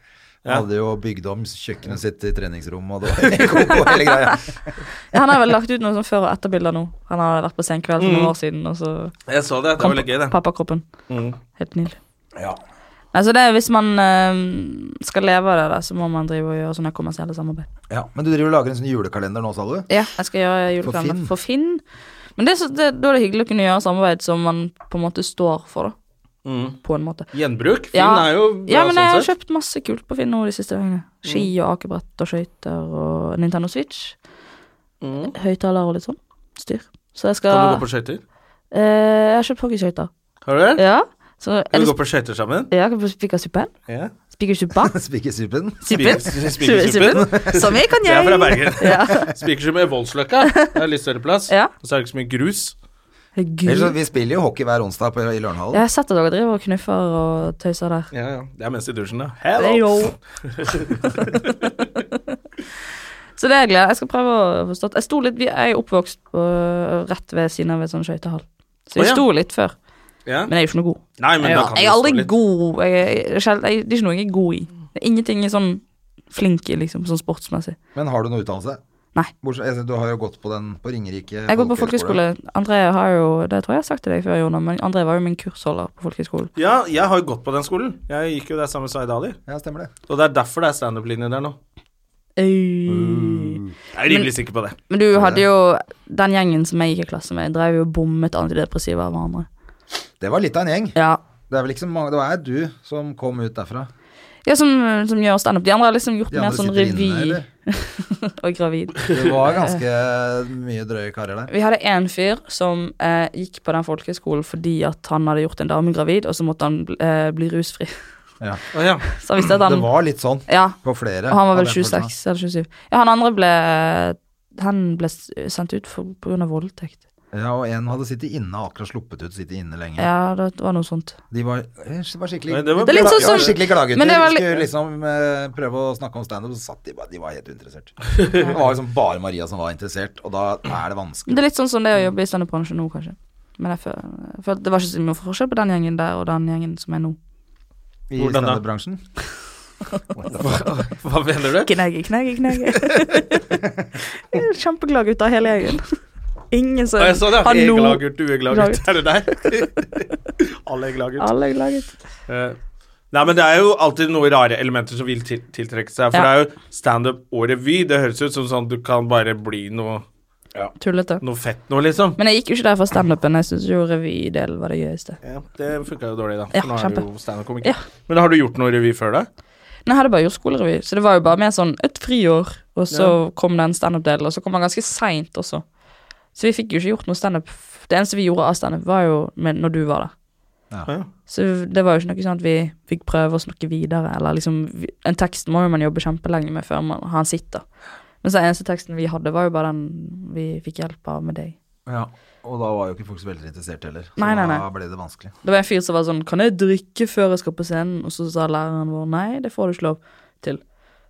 A: Ja.
B: Han hadde jo bygd om kjøkkenet sitt til treningsrom, og det var koko hele greia.
C: Ja, han har vel lagt ut noe sånn før- og etterbilder nå. Han har vært på Senkveld for noen år siden, og så
A: Jeg så Mm. det. Det
C: kom
A: var litt gøy, det. Mm.
C: pappakroppen. Helt nydelig.
B: Ja.
C: Altså det, er hvis man eh, skal leve av det, da, så må man drive og gjøre sånne kommersielle samarbeid.
B: ja. Men du driver og lager en sånn julekalender nå, sa du?
C: Ja, jeg skal gjøre julekalender
B: Finn.
C: for Finn. Men det, er så- det, da er det hyggelig å kunne gjøre samarbeid som man på en måte står for, da. På en måte.
A: Gjenbruk? Finn
C: Ja.
A: Mm. er jo bra
C: Ja, men jeg har
A: sånn sett. Mm.
C: kjøpt masse kult på Finn nå de siste dagene. Ski og akebrett og skøyter og Nintendo Switch. Høyttaler og litt sånn styr. Så jeg skal
A: Mm. Kan du gå på skøyter?
C: Eh, Jeg har kjøpt hockeyskøyter.
A: Har du det?
C: Ja. Så er
A: Kan
C: det
A: vi gå på skøyter sammen?
C: ja, kan vi spikke suppen?
A: Ja.
C: Spikke suppa?
B: Spikersuppen?
C: Suppen?
A: Spiker- spikersuppen.
C: Suppen? Som jeg kan
A: Jeg er fra
C: jeg.
A: Bergen. Spikersum i Voldsløkka. Det er litt større plass.
C: Ja.
A: Og så er det ikke så mye grus.
B: Ellers så-
C: Herregud.
B: Vi spiller jo hockey hver onsdag på, i Lørenhallen.
C: Jeg har sett at dere driver og knuffer og tøyser der.
A: Ja, ja. Det er mest i dusjen, da.
C: Heyo. Så det er jeg glad. Jeg skal prøve å forstå. Jeg sto litt, vi- jeg er oppvokst på, øh, rett ved siden av en sånn skøytehall.
A: Å,
C: Så jeg
A: ja.
C: sto litt før.
A: Ja.
C: Men jeg er jo ikke noe god.
A: Nei, men da
C: Jeg,
A: kan
C: jeg
A: du
C: er
A: stå
C: aldri
A: litt.
C: god. Jeg, jeg, jeg, sjel- jeg, det er ikke noe jeg er god i. Det er ingenting jeg er sånn flink i, liksom, sånn sportsmessig.
B: Men har du noe utdannelse?
C: Nei.
B: Bortsett, jeg- du har jo gått på den på Ringerike
C: Jeg går på folkehøyskole. André har jo Det tror jeg jeg har sagt til deg før, Jonah, men André var jo min kursholder på folkehøyskolen.
A: Ja, jeg har jo gått på den skolen. Jeg gikk jo der sammen med Zaid Ali.
B: Ja, stemmer det.
A: Og det er derfor det er standup-linje der nå.
C: Øy.
A: Jeg er rimelig sikker på det.
C: Men du hadde jo Den gjengen som jeg gikk i klasse med, drev jo og bommet antidepressiva av hverandre.
B: Det var litt av en gjeng.
C: Ja.
B: Det er vel ikke så mange Det var du som kom ut derfra.
C: ja som, som gjør standup. De andre har liksom gjort
B: De
C: mer
B: andre
C: sånn
B: sitter
C: revy
B: inne, eller?
C: og gravid.
B: Det var ganske mye drøye karer der.
C: Vi hadde en fyr som eh, gikk på den folkehøyskolen fordi at han hadde gjort en dame gravid, og så måtte han bl- eh, bli rusfri.
A: Å ja.
C: Så han visste at
B: Det
C: han
B: var litt sånn
C: Ja,
B: på flere.
C: og han var vel
B: av den
C: 26 eller 27. Ja, han andre ble Han ble s- sendt ut for, på grunn av voldtekt.
B: personen. Ja, og en hadde sittet inne, akkurat sluppet ut, sittet inne lenge.
C: Ja, det var noe sånt.
B: De var, eh, var skikkelig
A: Nei, det var
C: Det er
A: bra.
C: litt
B: de
C: sånn
B: var
C: som-
B: skikkelig
C: Men
B: klagegutter.
C: det var
B: De
C: litt-
B: skulle liksom eh, prøve å snakke om standup, så satt de bare De var helt uinteressert. Det var liksom bare Maria som var interessert, og da er det vanskelig.
C: Det er litt sånn som det
A: Mm.
C: å jobbe i standup-bransjen nå, kanskje. Men jeg føl- jeg følte det var ikke så mye forskjell på den gjengen der og den gjengen som er nå.
B: I
A: Hvordan da?
B: standup-bransjen.
A: Hva mener du?
C: Knegge, knegge, knegge. Kjempeglad gutter, hele gjengen. Ingen som
A: Å, jeg så det.
C: har
A: Jeg er
C: noe-
A: glad gutt, du er glad gutt. Er det deg? Alle er glad gutt.
C: Alle er glad gutt.
A: Eh, Nei, men det er jo alltid noen rare elementer som vil til tiltrekke seg. For
C: Ja.
A: det er jo standup og revy. Det høres ut som sånn du kan bare bli noe,
C: Tullete.
A: noe fett noe, liksom.
C: Men jeg gikk jo ikke der for standupen. Jeg syns jo revydelen var det gøyeste.
A: Ja, det funka jo dårlig, da.
C: Ja,
A: For nå er du
C: kjempe.
A: jo standup-komiker.
C: Ja.
A: Men har du gjort noe revy før, da?
C: Nei, jeg hadde bare gjort skolerevy, så det var jo bare mer sånn et friår, og så kom den standup-delen, og så kom den ganske seint også. Så vi fikk jo ikke gjort noe standup. Det eneste vi gjorde av standup, var jo med, når du var der.
B: Ja.
C: Så det var jo ikke noe sånn at vi fikk prøve å snakke videre, eller liksom vi- En tekst må jo man jobbe kjempelenge med før man, han sitter. Men så den eneste teksten vi hadde, var jo bare den vi fikk hjelp av med deg.
B: Ja. Og da var jo ikke folk så veldig interessert heller. Så
C: Nei, nei, nei.
B: da ble det vanskelig.
C: Det var en fyr som var sånn Kan jeg drikke før jeg skal på scenen? Og så sa læreren vår nei, det får du ikke lov til.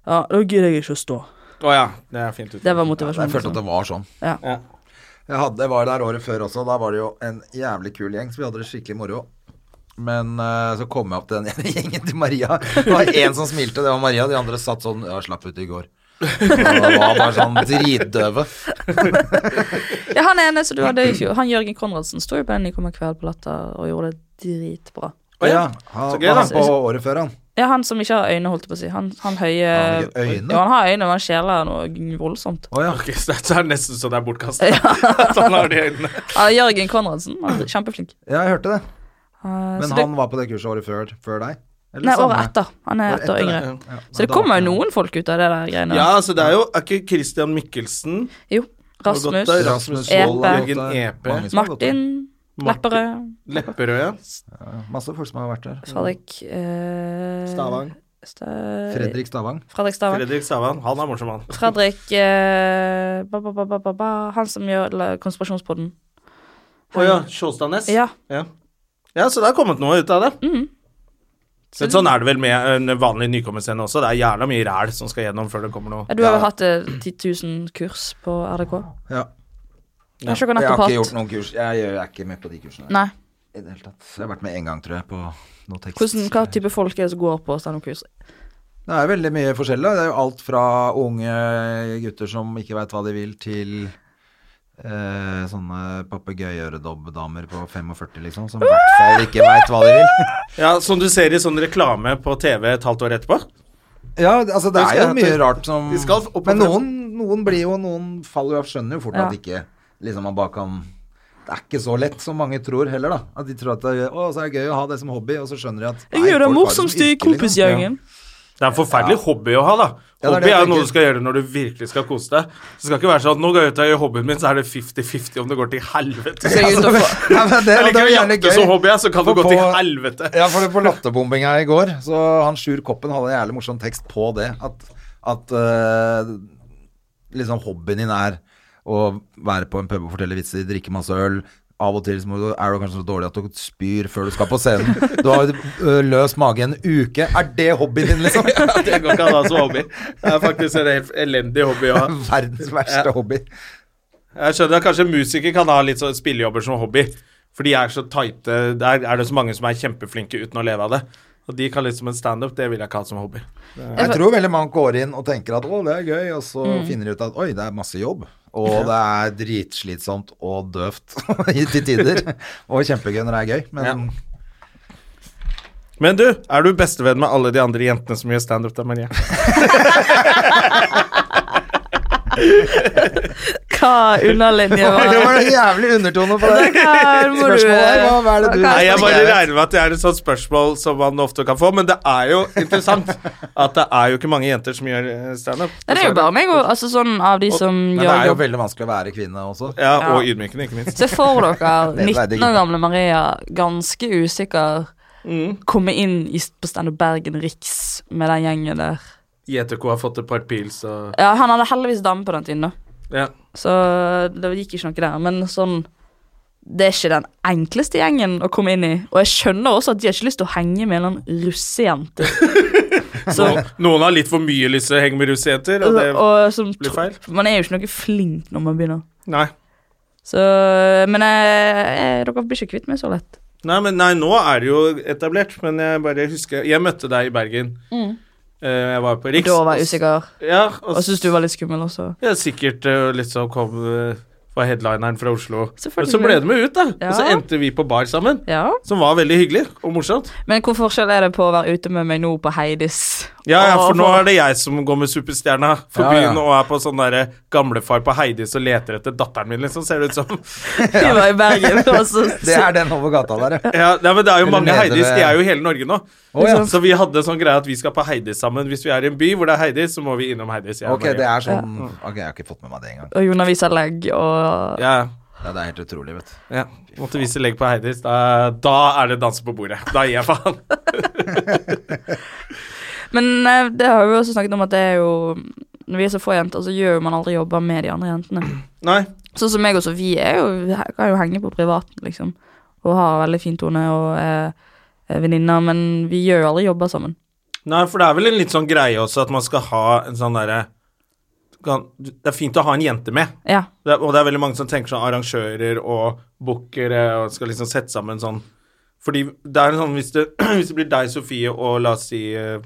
C: Ja, da gidder jeg ikke å stå.
A: Å ja, det er fint. Ut.
C: Det var
B: Ja,
C: motivasjonen.
B: jeg følte at det var sånn.
A: Ja.
B: Jeg hadde, jeg var der året før også, da var det jo en jævlig kul gjeng, så vi hadde det skikkelig moro. Men eh, så kom jeg opp til den ene gjengen til Maria. Det var én som smilte, det var Maria. De andre satt sånn Ja, slapp ut i går. Og det var bare sånn dritdøve.
C: Ja, han ene som du hadde i fjor, han Jørgen Konradsen, sto jo på den Nykommer kveld på Latter og gjorde det dritbra.
A: Å ja.
B: han,
A: Så gøy,
B: var
A: da.
B: han på året før, han.
C: Ja, han som ikke har øyne, holdt jeg på å si. Han, han høye
B: Har han ikke øyne?
C: Jo, han har øyne, men han skjeler noe voldsomt.
B: Å ja.
A: Ok, så det er nesten så det er bortkasta. sånn har de øynene.
C: Ja, Jørgen Konradsen, han er kjempeflink.
B: Ja, jeg hørte det.
C: Eh,
B: Men
C: så det,
B: han var på det kurset året før, før deg. Eller
C: Nei,
B: samme?
C: året etter. Han er
B: Året
C: ett år
B: etter,
C: yngre.
A: ja.
B: Ja,
C: Så det
B: da-
C: kommer jo noen folk ut av det der greiene.
A: Ja, altså det er jo Er ikke Christian Mikkelsen
C: Jo.
A: har gått
C: Rasmus,
A: der?
B: Rasmus
C: Epe.
B: Wold har gått
A: Jørgen
B: der.
A: Epe.
B: Mange som har gått der.
C: Martin, Lepperød,
A: Lepperød, ja.
B: Masse folk som har vært der.
C: Fredrik eh,
A: Stavang.
C: Sta-
B: Fredrik Stavang.
C: Fredrik Stavang.
A: Fredrik Stavang. Han er morsom, han.
C: Fredrik eh, ba, ba, ba, ba, ba, ba, Han som gjør la- konspirasjonspodden.
A: Å ja. Sjåstadnes.
C: Ja. Mhm.
A: ja. Ja, så det er kommet noe ut av det. Men sånn er det vel med en vanlig nykommerscene også. Det er jævla mye ræl som skal gjennom før det kommer noe.
C: Ja, Du har vel hatt eh, 10 000 kurs på RDK?
B: Ja.
C: Jeg har ikke
B: Jeg har
C: nettopp
B: ikke gjort
C: hatt
B: noen kurs. Jeg, jeg er ikke med på de kursene.
C: Nei.
B: I det hele tatt. Jeg har vært med én gang, tror jeg, på noe tekst.
C: Hvordan, hva type folk er det som går på standup-kurs?
B: Det er veldig mye forskjell. da. Det er jo alt fra unge gutter som ikke veit hva de vil, til eh, sånne papegøyeøredobbdamer på 45, liksom, som i hvert fall ikke veit hva de vil.
A: Ja, Som du ser i sånn reklame på TV et halvt år etterpå.
B: Ja, altså det er jo mye rart som
A: De skal opp og
B: Men
A: frem.
B: noen, noen blir jo Noen faller jo av, skjønner jo fort
C: Ja.
B: at ikke liksom man bare kan Det er ikke så lett som mange tror heller, da. At de tror at det, å, så er det gøy å ha det som hobby, og så skjønner de at
C: Jeg
B: folk
C: er jo den
B: har det som
C: morsomste i
B: yrke, liksom.
C: kompisgjengen.
A: Det er en forferdelig hobby å ha, da.
B: Ja, det er det
A: hobby
B: jeg
A: er jo
B: tenker.
A: noe du skal gjøre når du virkelig skal kose deg. Det skal ikke være sånn at nå går jeg ut og gjør hobbyen min, så er det 50-50 om det går til helvete.
C: Så jeg er ute og får-
B: Altså, Ja, men det,
A: Jeg
B: og det er
A: liker å
B: jo jævlig
A: jatte
B: gøy.
A: som hobby, ja, så kan det
B: For
A: gå til
B: på-
A: helvete.
B: Ja, for det på latterbombinga i går, så han Sjur Koppen hadde en jævlig morsom tekst på det. At, at eh, liksom hobbyen din er å være på en pub og fortelle vitser, drikke masse øl. Av og til så må du, er du kanskje så dårlig at du spyr før du skal på scenen. Du har ø, løs mage en uke. Er det hobbyen din, liksom?
A: Det går ikke an å ha som hobby. Det er faktisk en helt elendig hobby å ha.
B: Verdens verste hobby.
A: Jeg skjønner at kanskje musikere kan ha litt sånn spillejobber som hobby. For de er så tighte. Der er det så mange som er kjempeflinke uten å leve av det. Og de kan litt som en standup. Det vil jeg ikke ha som hobby.
B: Jeg tror veldig mange går inn og tenker at å, det er gøy, og så
A: Mm.
B: finner de ut at oi, det er masse jobb. Og det er dritslitsomt og døvt i- til tider. Og kjempegøy når det er gøy, men
A: Ja. Men du, er du bestevenn med alle de andre jentene som gjør standup da, Maria?
C: Hva underlinje var
B: Det
C: det?
B: var en jævlig undertone på det.
C: Her må du-
B: Spørsmålet er hva, hva er det du
A: Nei, jeg bare
B: Jeg vet.
A: regner med at det er et sånt spørsmål som man ofte kan få, men det er jo interessant at det er jo ikke mange jenter som gjør eh, standup.
C: Nei, Det er jo bare meg, og altså sånn av de som
B: Mm, Men det
C: gjør
B: er jo
C: jobb.
B: veldig vanskelig å være kvinne også.
A: Mm, Ja, og
C: Ja.
A: ydmykende, ikke minst.
C: Se for dere
B: Det er
C: 19
B: veldig
C: år
B: gøy.
C: gamle Maria, ganske usikker, komme inn i, på Standup Bergen Riks med den gjengen der.
A: JTK har fått et par pils og
C: Ja, han hadde heldigvis dame på den tiden, da.
A: Ja.
C: Så det gikk ikke noe der. Men sånn Det er ikke den enkleste gjengen å komme inn i. Og jeg skjønner også at de har ikke lyst til å henge med noen russejente. Så,
A: Og Noen har litt for mye lyst til å henge med russejenter, og det
C: og som
A: blir feil.
C: Man er jo ikke noe flink når man begynner.
A: Nei.
C: Så, men jeg, jeg, dere blir ikke kvitt meg så lett.
A: Nei, men nei, nå er det jo etablert, men jeg bare husker Jeg møtte deg i Bergen. Eh, jeg var på Riks.
C: Da Mm. var jeg usikker,
A: Ja, og,
C: og syntes du var litt skummel også.
A: Ja, sikkert eh, litt sånn kom eh, Var headlineren fra Oslo. Men
C: Selvfølgelig.
A: så ble det med ut, da.
C: Ja.
A: Og så endte vi på bar sammen.
C: Ja.
A: Som var veldig hyggelig og morsomt.
C: Men hvor forskjell er det på å være ute med meg nå på Heidis?
A: Ja, ja,
C: og-
A: for nå er det jeg som går med Superstjerna for
B: Ja, ja.
A: byen og er på sånn derre gamlefar på Heidis og leter etter datteren min, liksom, ser det ut som.
C: Vi var i Bergen, og så
B: Det er den over gata der, ja.
A: Ja, nei, men det er jo
B: Eller
A: mange
B: nede
A: Heidis,
B: ved-
A: de er jo i hele Norge nå.
B: Å, ja.
A: Så vi hadde sånn greie at vi skal på Heidis sammen. Hvis vi er i en by hvor det er Heidis, så må vi innom Heidis. jeg og
B: Ok, det
A: Maria.
B: er sånn Ok, jeg har ikke fått med meg det engang.
C: Og Jon Avisa Legg og
A: ja,
B: Ja, det er helt utrolig, vet du.
A: ja. Måtte vise legg på Heidis. Da, da er det danse på bordet. Da gir jeg faen.
C: Men eh, det har vi jo også snakket om at det er jo Når vi er så få jenter, så gjør jo man aldri jobber med de andre jentene.
A: Nei.
C: Sånn som meg og Sofie er jo, vi kan jo henge på privaten, liksom. Og har veldig fin tone og er er venninner, men vi gjør jo aldri jobber sammen.
A: Nei, for det er vel en litt sånn greie også at man skal ha en sånn derre kan- Det er fint å ha en jente med.
C: Ja.
A: Det er, og det er veldig mange som tenker sånn arrangører og bookere og skal liksom sette sammen sånn Fordi det er sånn hvis det, hvis det blir deg, Sofie, og la oss si eh,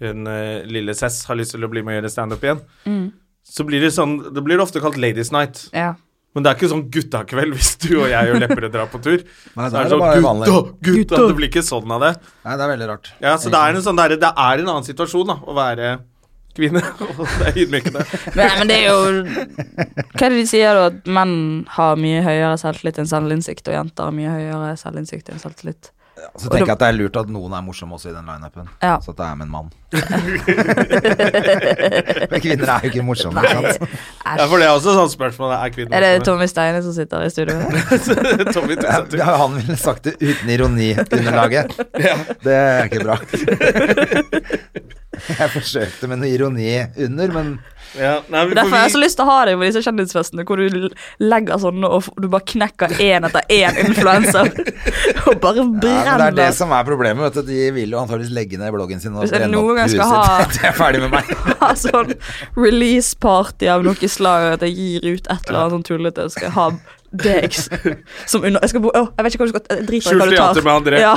A: hun eh, lille Cess har lyst til å bli med og gjøre standup igjen, så blir det sånn Det blir det ofte kalt Ladies Night.
C: ja.
A: Men det er ikke sånn guttakveld hvis du og jeg og Lepperød drar på tur.
B: Nei, da
A: Så
B: er
A: er
B: det
A: det
B: bare
A: sånn
B: vanlig.
A: gutta, gutta, Det blir ikke sånn av det.
B: Nei, det er veldig rart.
A: Ja, så det er en sånn derre Det er en annen situasjon, da, å være kvinne. Og det er ydmykende.
C: Men, men det er jo Hva er det de sier, da? At menn har mye høyere selvtillit enn selvinnsikt, og jenter har mye høyere selvinnsikt enn selvtillit.
B: Så tenker jeg at det er lurt at noen er morsomme også i den lineupen.
C: Ja.
B: Så at det er med en mann. Men kvinner er jo ikke morsomme. ikke sant?
A: Ja, for det er også et sånt spørsmål. Er kvinner
C: Er det
A: morsomme?
C: Tommy Steine som sitter her i studio?
A: Tommy
B: Ja,
A: Tusen.
B: ja, han ville sagt det uten ironiunderlaget. Det er ikke bra. Jeg forsøkte med noe ironi under, men
A: Ja, nei, vi,
C: Derfor har jeg så
A: vi,
C: lyst til å ha deg på disse kjendisfestene, hvor du l- legger sånne og f- du bare knekker én etter én influenser. og bare
B: ja, men det
C: brenner.
B: er det som er problemet. Vet du. De vil jo antakeligvis legge ned bloggen sin og
C: Hvis jeg
B: brenne
C: noen
B: opp
C: gang
B: huset
C: skal ha-
B: sitt. Jeg er ferdig med meg.
C: ha sånn release-party av noe slag, at jeg gir ut et eller annet sånn tullete. og Skal jeg ha deg s- som under Jeg skal bo Åh, jeg vet ikke hva du skal Jeg driter i hva
A: Skjult
C: du tar.
A: teater med André.
C: Ja.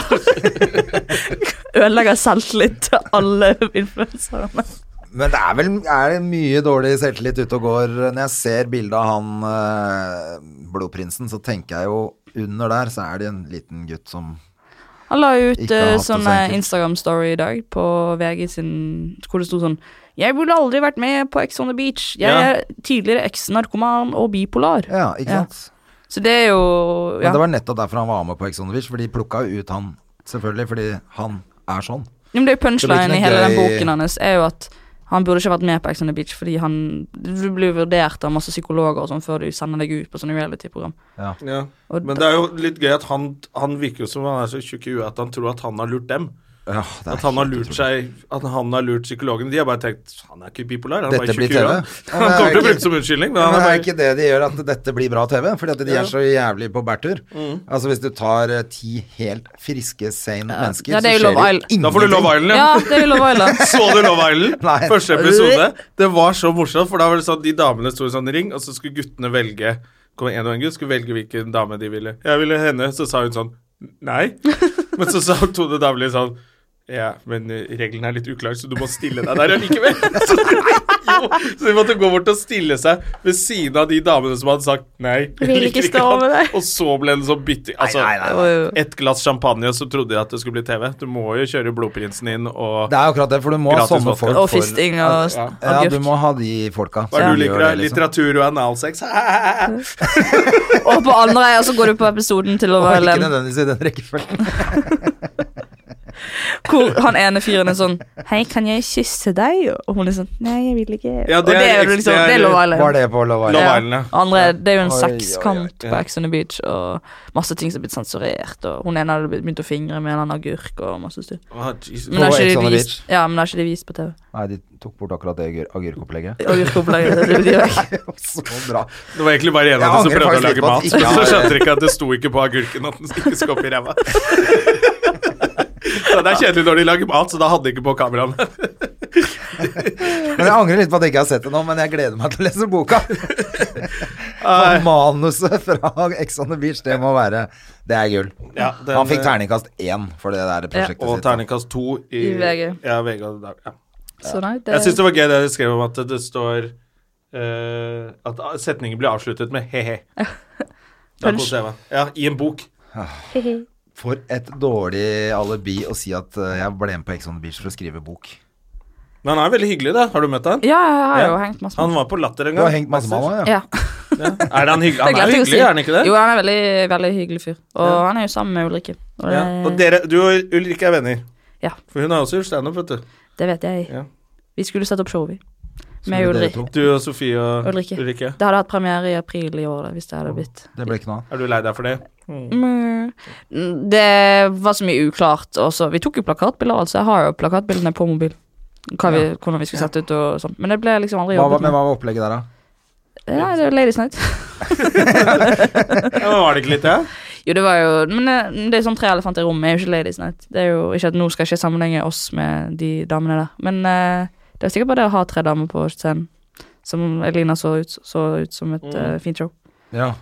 C: Ødelegger selvtillit til alle influenserne.
B: Men det er vel er det mye dårlig selvtillit ute og går. Når jeg ser bildet av han eh, blodprinsen, så tenker jeg jo under der så er det en liten gutt som
C: Han la ut
B: Ikke
C: eh,
B: hatt det så
C: sånn
B: enkelt.
C: Instagram-story i dag på VG sin Hvor det sto sånn Jeg burde aldri vært med på Ex on the Beach. Jeg
A: Ja.
C: er tidligere eks-narkoman og bipolar.
B: Ja, ikke
C: Ja.
B: sant?
C: Så det er jo
B: Men
C: ja.
B: det var nettopp derfor han var med på Ex on the Beach, for de plukka jo ut han, selvfølgelig, fordi han er sånn.
C: Ja, men det er jo
B: Det
C: punchline
B: blir
C: i
B: ikke
C: hele
B: noe
C: den
B: gøy-
C: boken hans er jo at han burde ikke vært med på Ex on the Beach fordi han du blir vurdert av masse psykologer og sånn før du sender deg ut på sånne reality-program.
A: ja.
C: Og
A: Men det er jo litt gøy at han, han virker jo som han er så tjukk i huet at han tror at han har lurt dem.
B: Ja, det er
A: At han har
B: helt
A: lurt
B: utrolig.
A: seg At han har lurt psykologene. De har bare tenkt Han er ikke bipolar, han er bare
B: Dette blir
A: tjukk i
B: TV.
A: huet.
B: Ja, men
A: Han
B: det er
A: kommer til å
B: ikke-
A: bruke det som unnskyldning, men
B: Ja,
A: han
B: men
A: er
B: er
A: bare
B: ikke det de gjør at dette blir bra TV? Fordi at de er så jævlig på bærtur.
A: Mm.
B: Altså hvis du tar eh, ti helt friske, sane mennesker,
C: Ja, det er jo
B: så
C: Love
B: skjer
C: Island.
B: det ingenting.
A: Da får du Love Island,
C: Ja, det er jo Love Island.
A: Så du Love Island?
B: Nei.
A: Første episode. Det var så morsomt, for da var det sånn de damene sto i sånn ring, og så skulle guttene velge Kom en og en gutt skulle velge hvilken dame de ville. Jeg ville henne, så sa hun sånn Nei. Men så sa Tone Damli sånn Ja, men eh, reglene er litt uklare, så du må stille deg der allikevel. Så, jo, så de måtte gå bort og stille seg ved siden av de damene som hadde sagt nei.
C: Vil ikke
A: liker
C: stå
A: han.
C: med deg.
A: Og så ble det sånn bytting. Altså,
B: Nei, nei, nei.
C: Og, jo-
A: ett glass champagne, og så trodde jeg at det skulle bli TV. Du må jo kjøre Blodprinsen inn og
B: Det er akkurat det, for du må ha
A: Gratis
B: sånne
A: vodka.
B: folk
C: og
B: for-
C: fisting og s-
A: Ja,
B: Ja,
C: agurk.
B: du må ha de folka.
A: Hva er
B: som
A: det
B: gjør
A: du liker, da?
B: det, liksom.
A: Litteratur og analsex?
C: Og på andre og så går du på episoden til Love
B: Og ikke
C: Island
B: nødvendigvis i den rekkefølgen.
C: hvor han ene fyren er sånn Hei, kan jeg kysse deg? Og hun er sånn Nei, jeg vil ikke.
A: Ja, det
C: og det
A: er
C: er jo
A: ekte-
C: liksom Det er Love Island.
B: Var det på Love Island?
A: Love Island, ja.
C: Og Andre, det er jo en
B: Oi, oi,
C: sexkamp
B: oi.
C: på Ex on the Beach, og masse ting som er blitt sensurert. Og hun ene hadde begynt å fingre med en eller annen agurk og masse styr. Men
B: På
C: har
B: Ex
C: ikke
B: on
C: de
B: the
C: vist, ja, men har ikke de vist på TV?
B: Nei, de tok bort akkurat det agurk- agurkopplegget.
C: Agurkopplegget. det blir jo ikke.
B: Så bra.
A: Det var egentlig bare en av
B: Jeg
A: dem som
B: angrer
A: prøvde å
B: faktisk litt
A: lage
B: på at
A: mat,
B: ikke jeg
A: så
B: har-
A: skjønte de ikke at det sto ikke på agurken at den ikke skulle opp i ræva. Så Det er kjedelig når de lager mat, så da hadde de ikke på kameraene.
B: Men jeg angrer litt på at jeg ikke har sett det nå, men jeg gleder meg til å lese boka. Og manuset fra Ex on the Beach, det må være Det er gull.
A: Ja, den-
B: Han fikk terningkast én for det der prosjektet
A: Og
B: sitt. da.
A: terningkast to i,
C: I VG.
A: Ja, VG og der, ja.
C: Så nei, det
A: Jeg syns det var gøy det de skrev om at det står eh, At setningen blir avsluttet med he-he. Da koser jeg meg. Ja, i en bok.
B: For et dårlig alibi å si at eh, jeg ble med på Ex on the Beach for å skrive bok.
A: Men han er veldig hyggelig, da. Har du møtt han?
C: Ja, jeg har jo
A: Ja.
C: hengt masse
A: Han var på Latter en
B: Du
A: gang.
B: har hengt masse med han, ja.
C: Ja.
A: Er det han hyggelig?
C: Det
A: Han er
C: glemte jeg å
A: hyggelig,
C: si.
A: er han ikke det?
C: Jo, han er veldig, veldig hyggelig fyr. Og han er jo sammen med Ulrikke. Og det,
A: Ja. Og dere, du og Ulrikke er venner.
C: Eh, Ja.
A: For hun har også gjort standup, vet du.
C: det vet jeg.
A: Ja.
C: Vi skulle sette opp show, vi. Med
B: Skulle dere
C: Ulrik.
B: to?
A: Du og Sofie og
C: Ulrikke.
A: Ulrikke.
C: Det hadde hatt premiere i april i år, da, hvis det
B: Mm.
C: hadde blitt
B: Det ble ikke noe av.
A: Er du lei deg for det?
C: Mm. Det var så mye uklart også. Vi tok jo plakatbilder, altså. Jeg har jo plakatbildene på mobil. Hva vi, hvordan vi skulle sette ut og sånn. Men det ble liksom
B: Hva,
C: aldri
B: var-
C: jobbet
B: men
C: med.
B: hva var opplegget der, da?
C: Ja, det var Ladies Night.
A: Ja, men var det ikke litt det?
C: Jo, det var jo Men eh, det er sånn tre elefanter i rommet, er jo ikke Ladies Night. Det er jo ikke at nå skal jeg ikke sammenligne oss med de damene der. Men eh, det er sikkert bare det å ha tre damer på scenen. Som Elina så ut, så ut som
B: Mm.
C: et eh, fint show.
B: Ja.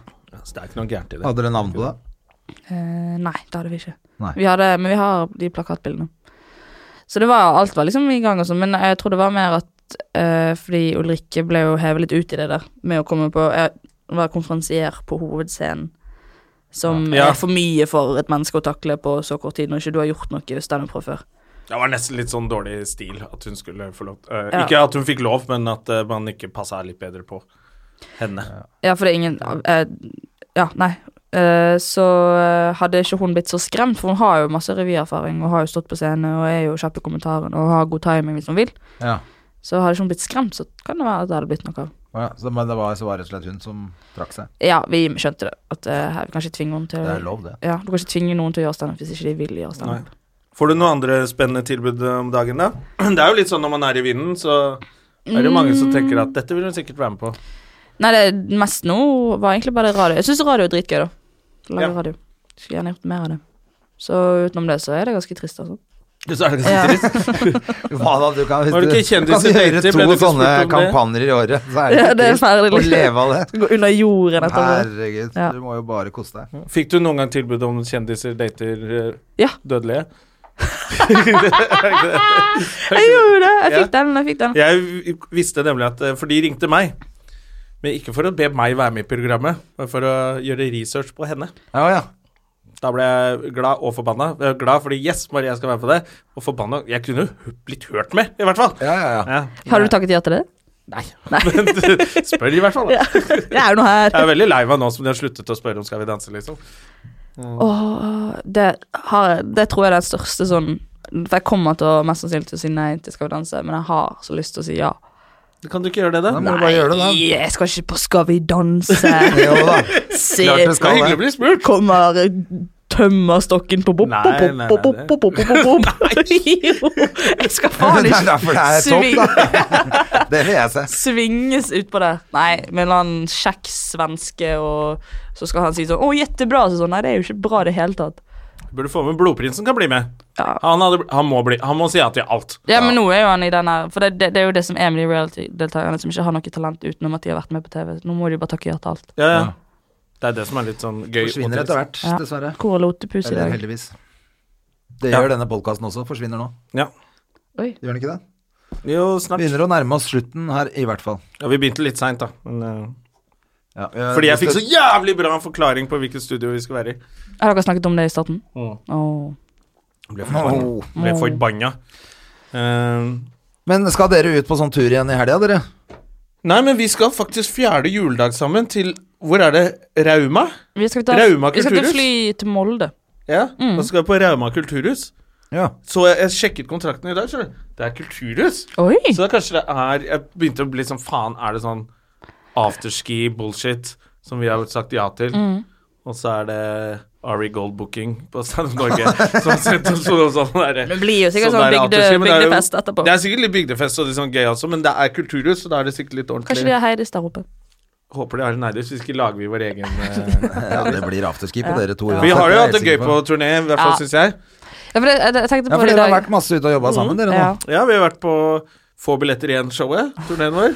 A: Så det er ikke noe gærent i det.
B: Hadde dere navn på det?
C: Eh, nei, det hadde vi ikke.
B: Nei.
C: Vi hadde, men vi har de plakatbildene. Så det var, alt var liksom i gang og sånn, men jeg tror det var mer at eh, Fordi Ulrikke ble jo hevet litt ut i det der med å komme på Jeg var konferansier på hovedscenen, som
A: Ja.
C: er for mye for et menneske å takle på så kort tid når ikke du har gjort noe standup fra før.
A: Det var nesten litt sånn dårlig stil at hun skulle få lov eh,
C: Ja.
A: Ikke at hun fikk lov, men at eh, man ikke passa litt bedre på henne.
C: Ja, for det er ingen eh, Ja, nei. eh, så eh, hadde ikke hun blitt så skremt, for hun har jo masse revyerfaring og har jo stått på scene og er jo kjapp i kommentarene og har god timing hvis hun vil.
B: Ja.
C: Så hadde ikke hun blitt skremt, så kan det være at det hadde blitt noe av.
B: Å ja. Så, men det var, så var det rett og slett hun som trakk seg.
C: Ja, vi skjønte det. At eh, her, vi kan ikke tvinge noen til
B: Det er lov, det.
C: Ja, Du kan ikke tvinge noen til å gjøre standup hvis ikke de vil gjøre standup.
A: Får du noen andre spennende tilbud eh, om dagen, da? Det er jo litt sånn når man er i vinden, så er det mange som tenker at dette vil hun sikkert være med på.
C: Nei, det mest nå var egentlig bare radio. Jeg syns radio er dritgøy, da. Lage
A: Ja.
C: radio. Skulle gjerne gjort mer av det. Så utenom det så er det ganske trist, altså.
A: Så er det ganske
C: Ja.
A: trist.
B: Hva da, du kan, hvis
A: Var det ikke
B: du kan gjøre
A: kjendiser dater? Ble
B: to
A: det ikke spurt
B: sånne
A: om det?
B: kampanjer i året, så er det,
C: Ja, det er
B: trist
C: ferdig,
B: å
C: liksom.
B: leve av det.
C: Gå under jorden etterpå.
B: Herregud,
C: Ja.
B: du må jo bare kose deg.
A: Fikk du noen gang tilbud om kjendiser dater eh,
C: Ja.
A: dødelige?
C: Jeg gjorde det! Jeg fikk den, jeg fikk den.
A: Jeg visste nemlig at eh, For de ringte meg. Men ikke for å be meg være med i programmet, men for å gjøre research på henne.
B: Ja, ja.
A: Da ble jeg glad og forbanna. Jeg var Glad fordi yes, Maria skal være med på det. Og forbanna Jeg kunne jo blitt hørt med, i hvert fall.
B: Ja, ja, ja.
A: Ja.
C: Har du takket ja til det?
A: Nei. Men spør i hvert fall. Da.
C: Jeg er jo nå her.
A: Jeg er veldig lei meg nå som de har sluttet å spørre om Skal vi danse, liksom.
C: Åh, det, har, jeg- det tror jeg er den største sånn For jeg kommer til å mest sannsynlig til å si nei til Skal vi danse, men jeg har så lyst til å si ja.
A: Kan du ikke gjøre det, da?
B: Da må du bare gjøre det, da.
C: Jeg skal ikke på Skal vi danse.
B: Jo da.
C: Se,
B: Klart det
A: Det er
B: skal
A: hyggelig å
B: det.
A: bli spurt.
C: kommer eh, tømmerstokken på bop,
A: Nei,
C: bop,
A: nei,
C: bop, bop,
A: nei.
C: bop, bop, bop, bop, bop. Jo, jeg skal faen
B: Det er
C: ikke
B: derfor det er topp, da. Det vil jeg se.
C: svinges utpå der. Nei, med en eller annen kjekk svenske, og så skal han si sånn 'Å, jettebra', så sånn. Nei, det er jo ikke bra i det hele tatt.
A: Burde få med Blodprinsen kan bli med.
C: Ja.
A: Han, hadde, han, må bli, han må si ja til alt.
C: Ja, men nå er jo han i den her For det, det, det er jo det som er med de reality-deltakerne som ikke har noe talent utenom at de har vært med på TV. Nå må de jo bare takke ja til alt.
A: Ja, ja. Det er det som er litt sånn gøy.
B: Forsvinner
A: og
B: etter
A: trist.
B: hvert,
C: Ja.
B: dessverre.
C: Hvor er Lotepus i
B: Eller
C: dag?
B: heldigvis. Det
A: Ja.
B: gjør denne podkasten også. Forsvinner nå.
A: Ja.
B: Gjør den ikke det?
A: Jo, snart.
B: Begynner å nærme oss slutten her, i hvert fall.
A: Ja, vi begynte litt seint, da. Men, eh,
B: Ja,
A: fordi jeg fikk så jævlig bra forklaring på hvilket studio vi skal være i.
C: Har dere snakket om det i starten?
A: Mm.
C: Åh.
A: Ble forbanna.
B: Åh.
A: Ble forbanna. Eh,
B: Men skal dere ut på sånn tur igjen i helga, dere?
A: nei, men vi skal faktisk fjerde juledag sammen til Hvor er det? Rauma?
C: Vi skal ta,
A: Rauma
C: vi skal til
A: kulturhus?
C: fly til Molde.
A: Ja. Da skal vi på Rauma kulturhus.
B: Ja.
A: Så jeg, jeg sjekket kontrakten i dag, skjønner du. Det er kulturhus.
C: Oi!
A: Så da kanskje det er Jeg begynte å bli sånn Faen, er det sånn afterski-bullshit som vi har sagt ja til? Og så er det Ari Gold Booking på Standup Norge som har sendt oss noe sånn derre
C: Det blir jo sikkert
A: sånn
C: sånn
A: der
C: bygde,
A: afterski, men det er jo-
C: bygdefest etterpå.
A: Det er sikkert litt bygdefest og litt sånn gøy også, men det er kulturhus, så da er det sikkert litt ordentlig.
C: Kanskje de har Heidis der oppe.
A: Håper de har en Eidis, hvis ikke lager vi vår egen eh,
B: ja, det blir afterski på dere to.
A: Vi
B: uansett,
A: har
B: det
A: jo
B: er
A: hatt det
B: jeg
A: gøy
B: sikker
A: på turné, i hvert fall
C: Ja.
A: synes syns jeg.
C: Ja, for det, jeg, jeg tenkte
B: Ja,
C: på
B: for
C: det i
B: dere har
C: dag.
B: vært masse ute og jobba sammen, dere nå.
C: Ja.
A: Ja, vi har vært på Få billetter igjen-showet, turneen vår.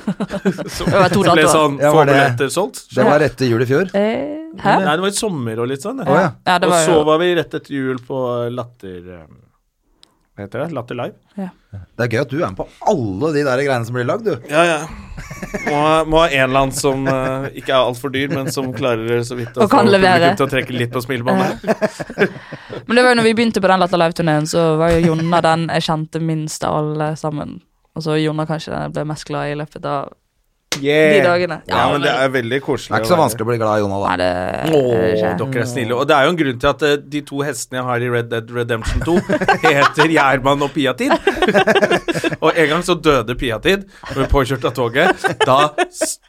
A: Som
C: Det var to
A: ble
C: datoer.
A: sånn
B: Ja,
A: Få
B: var det-
A: billetter solgt.
B: Det var etter jul i fjor.
C: Eh, hæ?
A: Nei, det var i sommer og litt sånn. det.
B: Å ja.
C: Ja, det
A: og
C: var
A: så
C: jo
A: var vi rett etter jul på Latter eh, Hva heter det? Latter Live?
B: Det er gøy at du er med på alle de der greiene som blir lagd, du.
A: Ja, ja. Må, må ha en eller annen som eh, ikke er altfor dyr, men som klarer så vidt
C: Og kan
A: få
C: levere.
A: publikum til å trekke litt på smilebåndet.
C: Men det var jo når vi begynte på den Latter Live-turneen, så var jo Jonna den jeg kjente minst av alle sammen. Og så Jonna kanskje den jeg ble mest glad i i løpet av
A: Yeah.
C: De dagene.
A: Ja, men det er veldig koselig.
B: Det er ikke så vanskelig å bli glad i Jonah,
C: Nei,
B: da.
C: det er
A: Åh,
C: ikke.
A: dere er snille. Og det er jo en grunn til at eh, de to hestene jeg har i Red Dead Redemption 2, heter Gjerman og Piatid. og en gang så døde Piatid, og ble påkjørt av toget. Da st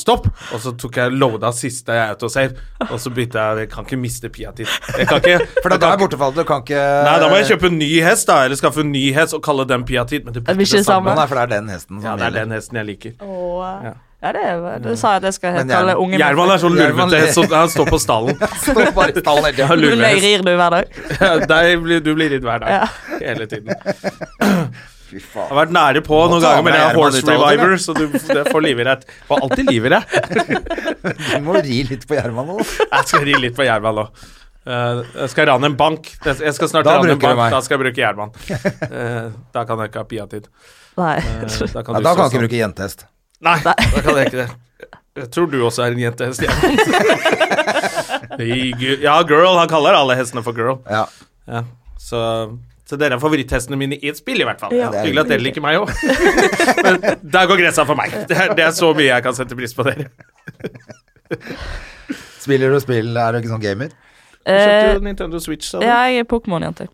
A: stopp! Og så tok jeg loada siste autosave, og så begynte jeg Jeg kan ikke miste Piatid. Jeg kan ikke
B: For da
A: jeg kan
B: er
A: ikke-
B: bortefallet, du kan ikke
A: Nei, da må jeg kjøpe en ny hest, da. Eller skaffe en ny hest og kalle den Piatid. Men det
C: Det blir ikke det samme.
B: Nei, for det er den hesten som
A: Ja, det er
B: gjelder.
A: den hesten jeg liker.
C: Åh. Ja, det, er- det sa jeg at jeg skal
B: Men
C: kalle
B: Gjerman-
C: ungen
A: Gjerman er sånn
B: Gjerman
A: lurvete
B: ler.
A: hest, så han står på stallen.
B: Står bare i stallen hele tiden.
A: Ja,
C: Du
A: lurvehest.
C: løyrir du hver dag.
A: Ja, deg blir, du blir ridd hver dag. Hele tiden. Jeg
B: Fy faen.
A: har vært nære på
B: Må
A: noen
B: ta med
A: ganger, men jeg er
B: hjelmen
A: horse
B: ditt av og til,
A: reviver, så du det får livrett. Får alltid livrett.
B: Du må ri litt på Gjerman nå.
A: Jeg skal ri litt på Jervan nå. Eh, jeg skal rane en bank. Jeg skal snart
B: Da
A: rane
B: bruker
A: en
B: du
A: bank,
B: meg.
A: da skal jeg bruke Jervan. Eh, da kan jeg ikke ha piatid.
C: Nei.
A: Uh, da kan
B: Ja,
A: du
B: da kan
A: stå
B: du ikke
A: sånn.
B: bruke jentehest.
A: Nei, da kan jeg ikke det. Jeg tror du også er en jentehest, Jervan. Hey, gu- ja, girl. Han kaller alle hestene for girl.
B: Ja.
A: Ja, så, så dere er favoritthestene mine i et spill, i hvert fall.
C: Ja.
A: Hyggelig at dere liker meg òg. Men der går grensa for meg. Det er, det er så mye jeg kan sette pris på dere.
B: Spiller du spill? Er du ikke sånn gamer?
C: Eh,
A: Kjøpte du Nintendo Switch, sa du?
C: ja, jeg er Pokémon-jente.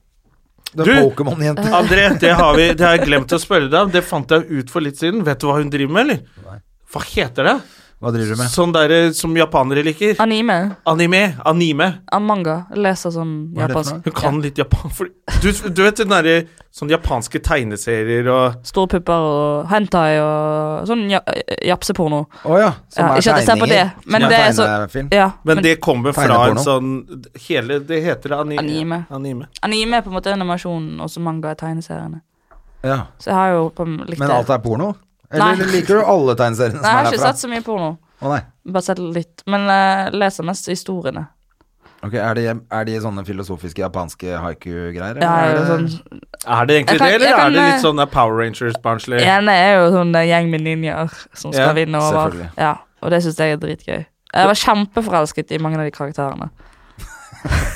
B: Du er
A: Du!
B: Pokémon-jente.
A: André, det har, vi, det har jeg glemt å spørre deg om. Det fant jeg ut for litt siden. Vet du hva hun driver med, eller? Hva heter det?
B: Hva driver du med?
A: Sånn derre som japanere liker.
C: Anime.
A: Anime. Anime.
C: av Manga. Jeg Leser sånn
B: Hva er det for
C: japansk.
A: Hun kan litt japan... For, du, du vet den derre sånn japanske tegneserier og
C: Store pupper og hentai og sånn ja, japseporno.
B: Å ja. Som
C: Ja,
B: er
C: ikke at jeg ser på
B: tegninger.
C: det, men
B: Som
C: det er så-
B: tegnefilm.
C: Ja, men,
A: Men det kommer fra en
B: Tegneporno.
A: sånn Hele Det heter anime.
C: Anime.
A: anime.
C: anime er på en måte animasjonen, og så manga er tegneseriene.
B: Ja.
C: Så jeg har jo på, likt
B: Men alt er porno? Eller
C: Nei.
B: liker du alle tegneseriene
C: Nei, jeg
B: som
C: har
B: er
C: ikke
B: herfra?
C: sett så mye porno.
B: Å nei.
C: Bare sett litt. Men eh, jeg leser mest historiene.
B: Ok, er de, er de sånne filosofiske japanske haiku-greier?
C: Jeg er jo
B: eller er
C: sånn
B: det-
A: Er det egentlig
C: Jeg kan-
A: det, eller
C: jeg kan,
A: er det
C: eh,
A: litt sånn der Power Rangers-barnslig?
C: ene er jo sånn der gjeng med ninjaer som skal
A: Ja,
C: vinne over.
B: selvfølgelig.
C: Ja, og det syns jeg er dritgøy. Jeg var kjempeforelsket i mange av de karakterene.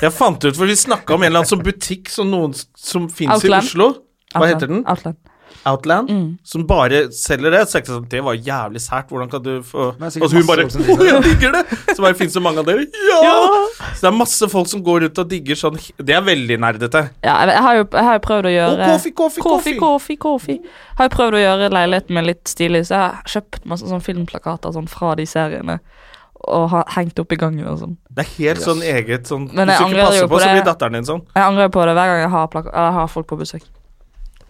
A: Jeg fant ut, for vi snakka om en eller annen sånn butikk som, noen, s- som fins i
C: Outland.
A: Oslo. Hva heter den?
C: Outland. Mm.
A: Outland, som bare selger det. Så jeg tenkte sånn, det var jævlig sært, hvordan kan du få
B: Men det
A: Og så
B: er sikkert
A: hun bare
B: masse folk som
A: Å,
B: driver
A: jeg digger det! Så bare finnes det mange av dere. Ja! Så det er masse folk som går rundt og digger sånn Det er veldig nerdete.
C: Ja, jeg, jeg, har jo, jeg har jo prøvd å gjøre
A: Å, Kofi, Kofi, Kofi.
C: Kofi, Kofi. Har jo prøvd å gjøre leiligheten min litt stilig, så jeg har kjøpt masse sånn filmplakater sånn fra de seriene. Og har hengt opp i gangen og sånn.
A: Det er helt sånn eget sånn
C: Men
A: Hvis
C: jeg
A: du ikke
C: angrer jo
A: passer
C: på
A: på, så
C: det.
A: blir datteren din sånn.
C: Jeg angrer på det hver gang jeg har, plaka eller jeg har folk på besøk.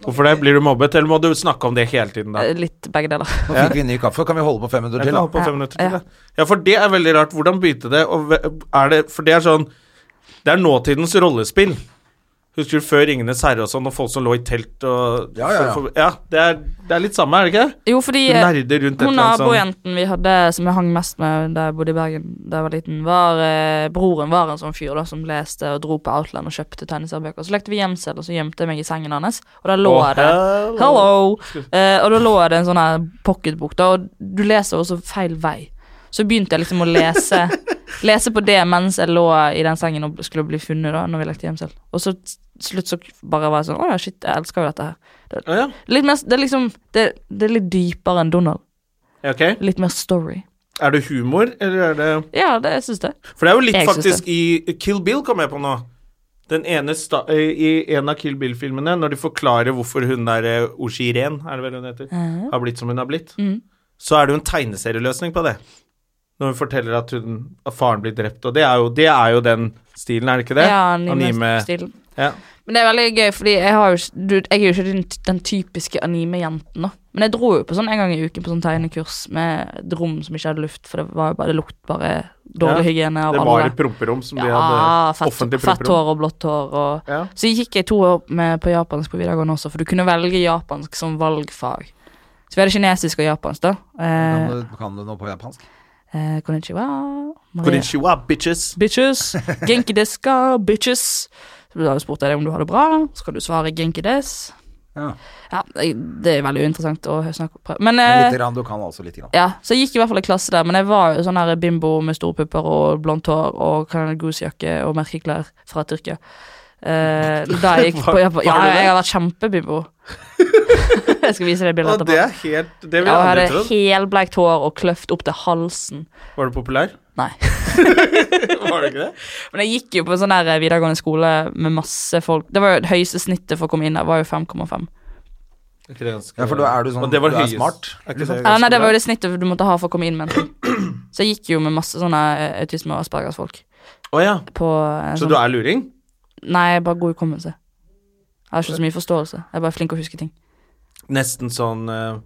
A: Hvorfor det? Blir du mobbet, eller må du snakke om det hele tiden, da?
C: Eh, Litt begge deler.
B: Nå fikk vi ny kaffe, kan vi holde på fem minutter
A: Jeg
B: til?
A: kan holde
B: da?
A: på
C: Ja.
A: fem minutter til,
C: Ja.
A: ja. ja, for det er veldig rart. Hvordan begynte det? Og ve- er det for det er sånn Det er nåtidens rollespill. Husker du før 'Ringenes herre' og sånn, og folk som lå i telt og
B: Ja, ja, ja.
A: for- for- ja det, er, det er litt samme, er det ikke? det?
C: Jo, fordi
A: Du
C: eh,
A: nerder rundt et
C: hun
A: eller annet sånn
C: nabojenten vi hadde som jeg hang mest med da jeg bodde i Bergen da jeg var liten, var eh, broren var en sånn fyr da som leste og dro på Outland og kjøpte tegneseriebøker. Så lekte vi gjemsel, og så gjemte jeg meg i sengen hans, og da lå
A: Å,
C: jeg det.
A: hello.
C: Hello! Eh, og da lå det en sånn her pocketbok, da, og du leser også feil vei. Så begynte jeg liksom å lese Lese på det mens jeg lå i den sengen og skulle bli funnet, da, når vi lekte gjemsel. Og så til slutt så bare var jeg sånn Å ja, shit, jeg elsker jo dette her. Det,
A: Å, ja.
C: litt mer, det er liksom det, det er litt dypere enn Donald.
A: Ja, ok.
C: Litt mer story.
A: Er det humor, eller er det
C: Ja, det jeg syns det.
A: For det er jo litt
C: Jeg synes
A: faktisk i Kill Bill kom jeg på nå. Den ene sta eh, I en av Kill Bill-filmene, når de forklarer hvorfor hun der eh, Oshiren, er det vel hun heter, har blitt som hun har blitt,
C: Mm.
A: så er det jo en tegneserieløsning på det. Når hun forteller at, hun, at faren blir drept, og det er, jo, det er jo den stilen, er det ikke det?
C: Ja, anime-stilen.
A: Ja.
C: Men det er veldig gøy, fordi jeg, har jo, ikke- du, jeg er jo ikke den, den typiske anime-jenten. da. Men jeg dro jo på sånn en gang i uken på sånn tegnekurs med et rom som ikke hadde luft, for det, var jo bare, det lukt bare dårlig
A: Ja,
C: hygiene av
A: Det
C: alle.
A: var et promperom som de
C: ja,
A: hadde
C: fett,
A: offentlig
C: fett
A: promperom.
C: hår og blått hår. Og,
A: Ja.
C: Så jeg gikk jeg to år med, på japansk på videregående også, for du kunne velge japansk som valgfag. Så vi hadde kinesisk og japansk, da.
B: Kan
C: Eh,
B: du, kan du noe på japansk?
C: eh, konnichiwa. Maria-
A: Konnichiwa, bitches.
C: Bitches. Genki deska, bitches. Så Da spurte jeg deg om du har det bra, så kan du svare genki des. Eh.
B: Ja.
C: Ja, det er veldig uinteressant å snakke om. Men
B: Men
C: eh,
B: Lite grann, du kan altså lite grann.
C: ja, så jeg gikk i hvert fall i klasse der, men jeg var jo sånn her bimbo med store pupper og blondt hår og Kanagos-jakke og merkeklær fra Tyrkia. Eh, da jeg gikk på
A: Var-
C: Japan. Ja,
A: var du det?
C: jeg har vært kjempebimbo. jeg skal vise deg
A: Ja,
C: bildet
A: det
C: etterpå.
A: er helt Det vil
C: Jeg
A: jeg
C: hadde
A: aldri trodd.
C: helbleikt hår og kløft opp til halsen.
A: Var du populær?
C: Nei.
A: Var du ikke det?
C: Men jeg gikk jo på sånn her videregående skole med masse folk. Det var jo Det høyeste snittet for å komme inn der var jo 5,5.
A: Er ikke det ganske-
B: Ja, for da er du sånn-
A: Og det var
B: du er
A: høyest. sånn-
B: smart,
A: Er ikke det
C: Ja, Ah, nei, det
A: ganske
C: var
A: bra?
C: jo det snittet du måtte ha for å komme inn, men Så jeg gikk jo med masse sånne eh, autisme- og aspergersfolk
A: Å ja.
C: på eh,
A: Så
C: sånn,
A: du er luring?
C: Nei, jeg har bare god hukommelse. Jeg har ikke så mye forståelse. Jeg er bare flink til å huske ting.
A: Nesten sånn eh,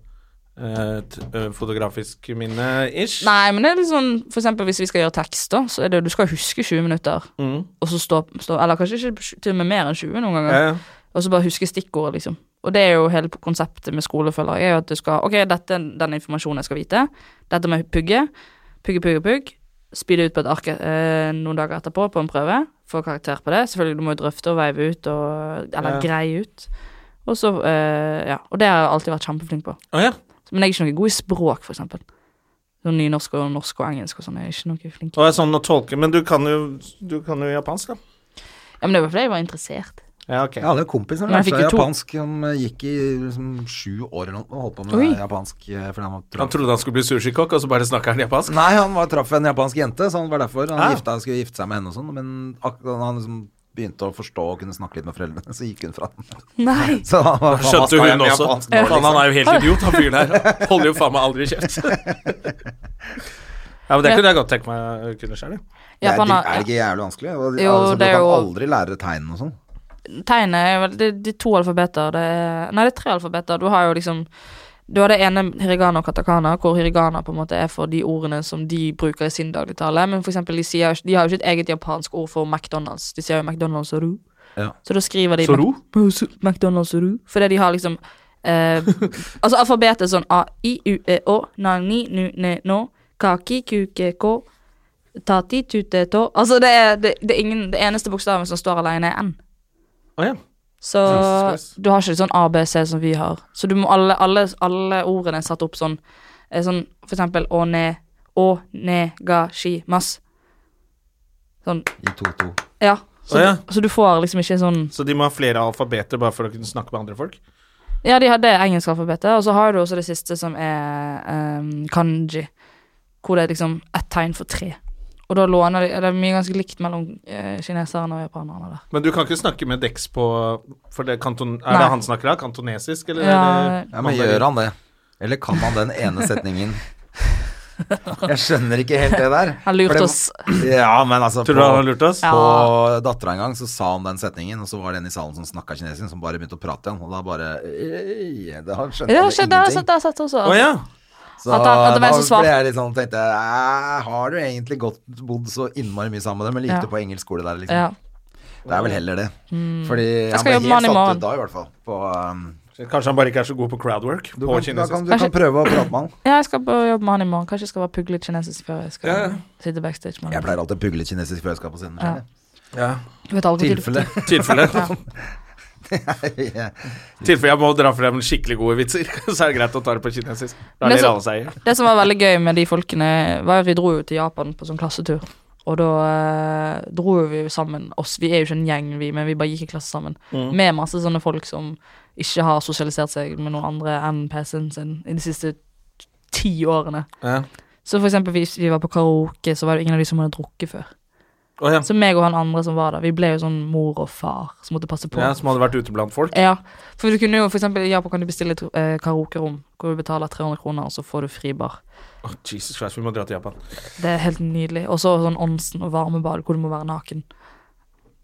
A: eh, t- eh, fotografisk minne-ish.
C: Nei, men det er litt sånn For eksempel hvis vi skal gjøre tekst, da, så er det jo Du skal jo huske 20 minutter,
A: Mm.
C: og så stå, stå Eller kanskje ikke til og med mer enn 20 noen ganger.
A: Eh,
C: Og så bare huske stikkordet, liksom. Og det er jo hele konseptet med skole, føler jeg, er jo at du skal Ok, dette er den informasjonen jeg skal vite. Dette med pugge. Pugge, pugge, pugg. Spyde ut på et ark eh, noen dager etterpå på en prøve. Få karakter på det. Selvfølgelig, du må jo drøfte og veive ut og Eller
A: Ja.
C: greie ut. Og så eh, Ja. Og det har jeg alltid vært kjempeflink på.
A: Å ja.
C: Men jeg er ikke noe god i språk, for eksempel. Sånn nynorsk og norsk og engelsk og sånn. Jeg er ikke noe flink.
A: Og er sånn å tolke Men du kan jo, du kan jo japansk, da.
C: Ja, men det var fordi jeg var interessert.
A: Ja, ok.
B: Jeg hadde en kompis som
C: Men han
B: lærte
C: fikk
B: seg
C: jo to.
B: japansk. Han eh, gikk i liksom, sju år eller noe og holdt på med
C: Oi.
B: japansk. eh, Fordi han var
A: Han trodde han skulle bli sushikokk, og så bare snakker han japansk.
B: Nei, han var, traff en japansk jente, så han var derfor han
A: Ah.
B: gifta, skulle gifte seg med henne og sånn. Men ak da han liksom begynte å forstå og kunne snakke litt med foreldrene, så gikk hun fra den.
C: Nei!
B: Så han var, hva
A: Skjønte
B: skal jeg
A: hun
B: med
A: også.
B: japansk nå,
A: Faen,
B: liksom?
A: han er jo helt idiot, han fyren her. Holder jo faen meg aldri kjeft. Ja, men det kunne jeg godt tenke meg å kunne sjøl.
B: Det er,
C: Japan har-
B: er det ikke jævlig vanskelig? Og-
C: Jo,
B: altså,
C: det er
B: du kan
C: jo-
B: aldri lære tegnene og sånn.
C: Tegnet er vel det, det er to alfabeter. Det er, nei, det er tre alfabeter. Du har jo liksom Du har det ene hirigana og katakana, hvor hirigana på en måte er for de ordene som de bruker i sin dagligtale. Men for eksempel, de, sier, jo ikke- de har jo ikke et eget japansk ord for McDonald's. De sier jo McDonald's og ru.
B: Ja.
C: Så da skriver de
A: Soru?
C: Mac- McDonald's og ru. Fordi de har liksom eh, Altså alfabetet er sånn A, I, U, E, Å, Nani, Nu, Ne, No, Kaki, Kuke, K, Tati, Tute, Tå. Altså det er, det, det er ingen Det eneste bokstaven som står alene, er N.
A: Oh, ja.
C: Så
A: Jesus Christ.
C: du har ikke sånn ABC som vi har. Så du må alle, alle, alle ordene er satt opp sånn, eh, sånn for eksempel å ne, å ne ga shi mas. Sånn,
B: I 2-2.
C: ja. Så,
A: Å, ja.
C: Du, så du får liksom ikke sånn
A: Så de må ha flere alfabeter bare for å kunne snakke med andre folk?
C: Ja, de hadde engelskalfabetet, og så har du også det siste som er ehm, kanji, hvor det er liksom ett tegn for tre. Og da låner de Det er mye ganske likt mellom eh, kineserne og japanerne der.
A: Men du kan ikke snakke med Dex på For det er kanton, Er
C: Nei.
A: det han snakker da? Kantonesisk, eller?
C: Ja,
B: Ja, men gjør han det? Eller kan han den ene setningen? Jeg skjønner ikke helt det der.
C: Han lurte
B: For det-
C: oss.
B: Ja, men altså
A: Tror du han har lurt oss?
C: Ja.
B: På dattera en gang så sa han den setningen, og så var det en i salen som snakka kinesisk, som bare begynte å prate igjen, og da bare «Ei», Da skjønte
C: Det har
B: han
C: skjedd, det
B: ingenting.
C: har jeg sett, det har jeg sett også.
A: Å ja.
B: Så
C: At han- at det var en som
B: da
C: svarte.
B: ble jeg litt sånn tenkte jeg, «Æ, Har du egentlig gått, bodd så innmari mye sammen med dem, eller
C: Ja.
B: gikk du på engelsk skole der, liksom?
C: Ja.
B: Det er vel heller det. Fordi han
C: skal
B: ble
C: jobbe med
B: helt
C: han i
B: satt
C: morgen.
B: ut da, i hvert fall. På, um,
A: Kanskje han bare ikke er så god på crowdwork
B: du,
A: på
B: kan, da kan,
A: kinesisk.
B: du kan prøve å prate med han.
C: Ja, jeg skal på jobb med han i morgen. Kanskje jeg skal bare pugge litt kinesisk før jeg skal sitte backstage med
B: Jeg
C: han.
B: pleier alltid å pugle kinesisk før jeg skal på scenen.
C: Ja.
A: Ja.
C: Du vet aldri hvor tid-
B: Tilfelle.
A: Tilfelle.
B: Ja.
A: Tilfelle jeg må dra frem skikkelig gode vitser, så er det greit å ta det på kinesisk. Da
C: Men
A: ler
C: så-
A: alle seg i hjel.
C: Det som var veldig gøy med de folkene, var at vi dro jo til Japan på sånn klassetur. Og da eh, dro jo vi jo sammen oss. Vi er jo ikke en gjeng, vi, men vi bare gikk i klasse sammen. Med masse sånne folk som ikke har sosialisert seg med noen andre enn PC-en sin i de siste ti årene.
A: Ja.
C: Så for eksempel hvis vi var på karaoke, så var det ingen av de som hadde drukket før.
A: Å ja.
C: Så meg og han andre som var der, vi ble jo sånn mor og far som måtte passe på.
A: ja. Som hadde vært ute blant folk.
C: Ja, for du kunne jo for eksempel i Japan kan du bestille et eh, karaokerom hvor du betaler 300 kroner, og så får du fribar.
A: Å, Jesus Christ, vi må dra til Japan.
C: Det er helt nydelig. Og så sånn onsen og varmebad hvor du må være naken.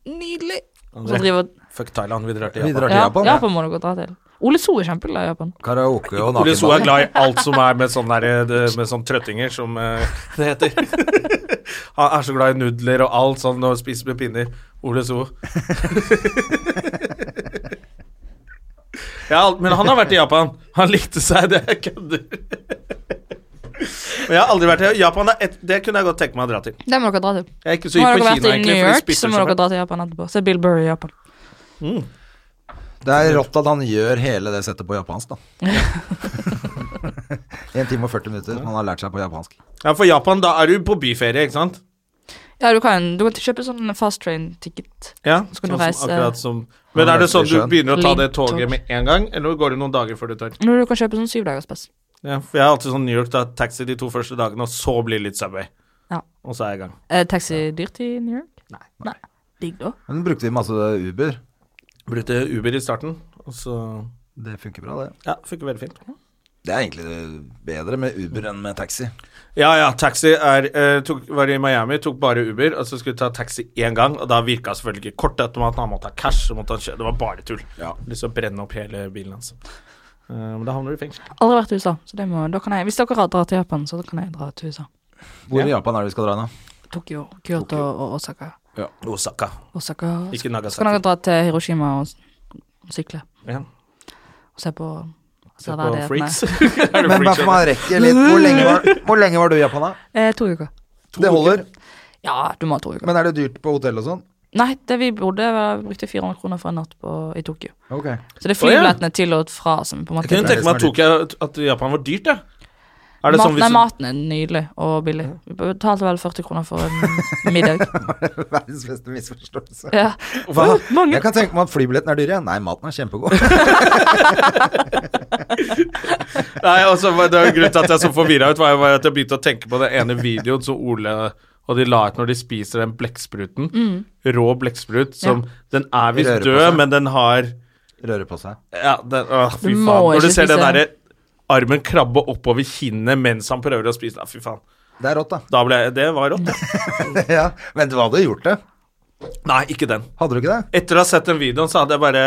C: Nydelig! Og så driver
A: Fuck Thailand, vi drar til
B: Vi
A: Japan.
B: drar til
C: ja,
B: Japan. ja.
C: Japan må du gå dra til. Ole So er kjempeglad i Japan.
B: Karaoke og
A: Ole So er
B: nakenbad.
A: glad i alt som er med sånn der, det- med sånn trøttinger, som eh, det heter. Han er så glad i nudler og alt sånn, og spiser med pinner. Ole So. ja, alt- men han har vært i Japan. Han likte seg, det jeg kødder. Men jeg har aldri vært i Japan. Er et, det kunne jeg godt tenke meg å dra til.
C: Det må dere dra til.
A: Jeg er ikke så
C: Nå
A: hypp på
C: har dere vært
A: Kina,
C: i
A: egentlig,
C: New
A: for de
C: York,
A: spiser
C: så må
A: så
C: dere
A: mye.
C: dra til Japan etterpå. Se Bill Burry i Japan.
B: Det er rått at han gjør hele det settet på japansk, da. 1 time og 40 minutter. Han har lært seg på japansk.
A: Ja, for Japan, da er du på byferie, ikke sant?
C: Ja, du kan, du kan kjøpe sånn fast train-ticket.
A: Ja,
C: Så kan du
A: sånn som-
C: reise-
A: akkurat som Men er det
B: reise
A: sånn
B: i
A: du
B: sjøen.
A: begynner å ta det
C: Lyntog.
A: toget med en gang, eller går det noen dager før du tar
C: Når du kan kjøpe sånn syvdagerspass.
A: Ja, for jeg har alltid sånn New York, da taxi de to første dagene, og så blir det litt Subway.
C: Ja.
A: Og så er jeg i gang.
C: Er Eh, taxi dyrt i New York? Nei. Nei. Digg, da.
B: Men brukte vi masse Uber.
A: Brukte Uber i starten, og så
B: Det funker bra, det.
A: Ja, funker veldig fint.
B: Det er egentlig bedre med Uber enn med taxi.
A: Ja ja, taxi er, eh, tok, var i Miami, tok bare Uber, og så skulle jeg ta taxi én gang, og da virka selvfølgelig ikke kortautomaten, han måtte ha cash, så måtte han kjøre Det var bare tull.
B: Ja.
A: Lyst til å brenne opp hele bilen hans. Eh, Men da havner du i fengsel.
C: Aldri vært i USA, så det må, da kan jeg, hvis dere drar til Japan, så kan jeg dra til USA.
B: Hvor i Japan er det vi skal dra nå?
C: Tokyo, Kyoto og Osaka.
A: Osaka,
C: Osaka.
A: ikke
C: Så kan
A: Nagasaki.
C: dere dra til Hiroshima og s- sykle
A: Ja.
C: og se på
A: Se
C: der det
A: på
C: er
A: Freaks.
C: med-
A: Er
B: Men
A: du
B: bare
A: freaks,
B: for man rekker litt Hvor lenge var, hvor lenge var du i Japan, da?
C: Eh, to uker.
B: Det holder.
C: Ja, du må ha to uker.
B: Men er det dyrt på hotell og sånn?
C: Nei, det vi bodde, var, brukte 400 kroner for en natt på, i Tokyo.
B: Ok.
C: Så det er flybillettene til og fra som på en måte
A: Jeg kunne
B: Det er det
A: tenke meg at
B: som
A: Tokyo, at Japan var dyrt, jeg. Er det
C: Mat,
A: sånn hvis
C: nei,
A: du-
C: maten er nydelig og billig. Vi betalte vel 40 kroner for en middag.
B: Verdens beste misforståelse.
C: Ja.
B: Hva?
C: Eh, Mange
B: Jeg kan tenke meg at flybilletten er dyr, ja. Nei, maten er kjempegod.
A: Nei, altså, det var Grunnen til at jeg så forvirra ut, var jo bare at jeg begynte å tenke på den ene videoen som Ole og de la ut når de spiser den blekkspruten.
C: Mm.
A: Rå blekksprut som Den
B: Rører
A: er
B: på
A: visst død,
B: seg.
A: men den har
B: Rører på seg.
A: Ja, den, åh, fy
C: Du
A: faen.
C: må
A: Når du
C: ikke
A: ser den
C: spise.
A: derre armen krabbe oppover kinnet mens han prøver å spise den, fy faen.
B: Det er rått, da.
A: Da ble jeg Det var rått. ja.
B: ja. Men du hadde gjort det.
A: Nei, ikke den.
B: Hadde du ikke det?
A: Etter å ha sett den videoen, så hadde jeg bare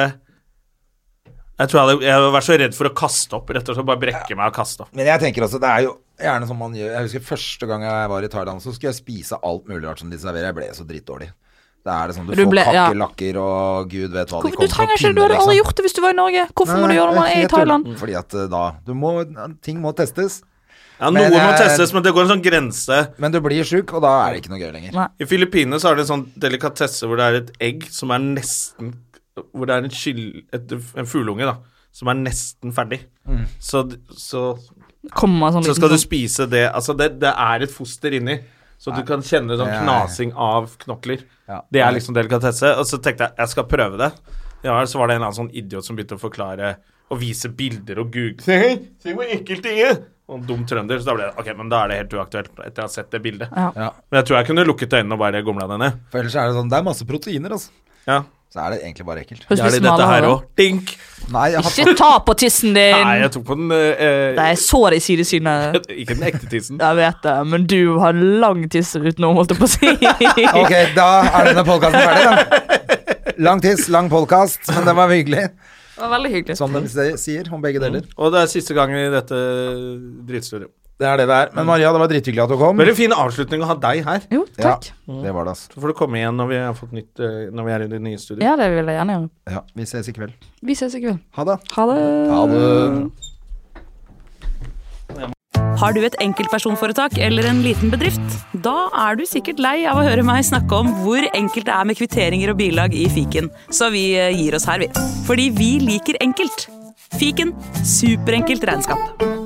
A: jeg tror jeg hadde, jeg hadde vært så redd for å kaste opp. Rett og slett bare brekke meg og kaste opp.
B: Men jeg tenker også, det er jo gjerne som man gjør Jeg husker første gang jeg var i Thailand, så skulle jeg spise alt mulig rart som de serverer. Jeg ble så drittdårlig. Da er det sånn, du,
C: Du
B: får
C: ble- ja.
B: kakerlakker og gud vet hva de
C: Hvorfor,
B: kommer
C: du
B: med
C: trenger ikke det, du
B: pinner,
C: hadde aldri
B: liksom.
C: gjort det hvis du var i Norge. Hvorfor må
B: Nei,
C: du gjøre det når man er i
B: helt
C: Thailand?
B: tull. Fordi at eh, da du må, Ting må testes.
A: Ja,
B: Men
A: Noe må
B: jeg-
A: testes, men det går en sånn grense.
B: Men du blir sjuk, og da er det ikke noe gøy lenger.
C: Nei.
A: I Filippinene så er det en sånn delikatesse hvor det er et egg som er nesten Hvor det er en, skyll- et, en fugleunge, da, som er nesten ferdig. Så, d- så,
C: Kommer sånn
A: så
C: liten
A: skal du
C: sånn-
A: spise det Altså, det, det er et foster inni, så du kan kjenne sånn
B: Nei.
A: knasing av knokler.
B: Ja.
A: Det er liksom delikatesse. Og så tenkte jeg jeg skal prøve det. Ja, så var det en eller annen sånn idiot som begynte å forklare og vise bilder og google Se, se hvor ekkelt det er! Og en dum trønder. Så da ble det ok, men da er det helt uaktuelt, etter å ha sett det bildet.
C: Ja.
B: Ja.
A: Men jeg tror jeg kunne lukket øynene og bare gomla det ned.
B: For ellers er det sånn Det er masse proteiner, altså.
A: Ja.
B: Så er det egentlig bare ekkelt.
C: Husk
A: Er
C: hvis
A: det dette
C: smaler
A: her
C: hår.
A: òg? Dink!
B: Nei, jeg har
C: Ikke ta på tissen din!
A: Nei, jeg tok på den eh,
C: Nei, jeg så det i sidesynet.
A: Ikke den ekte tissen.
C: Jeg vet det, men du har lang tiss utenom, holdt jeg på å si.
B: Ok, da er denne podkasten ferdig, da. Lang tiss, lang podkast, men den var hyggelig.
C: Det var veldig hyggelig.
B: Som de sier om begge deler.
A: Og det er siste gang i dette drittstudioet.
B: Mm. Det er det det er. Men Maria, det var drithyggelig at du kom.
A: Veldig fin avslutning å ha deg her.
C: Jo, takk.
B: Ja, det var det, altså.
A: Så får du komme igjen når vi, har fått nytt, eh, når vi er i det nye studioet.
C: Ja, det vil jeg gjerne gjøre.
B: Ja, vi ses i kveld.
C: Vi ses i kveld.
B: Ha det.
C: Ha det.
B: Ha det.
D: Har du et enkeltpersonforetak eller en liten bedrift? Da er du sikkert lei av å høre meg snakke om hvor enkelt det er med kvitteringer og bilag i fiken, så vi eh, gir oss her, vi. Fordi vi liker enkelt. Fiken superenkelt regnskap.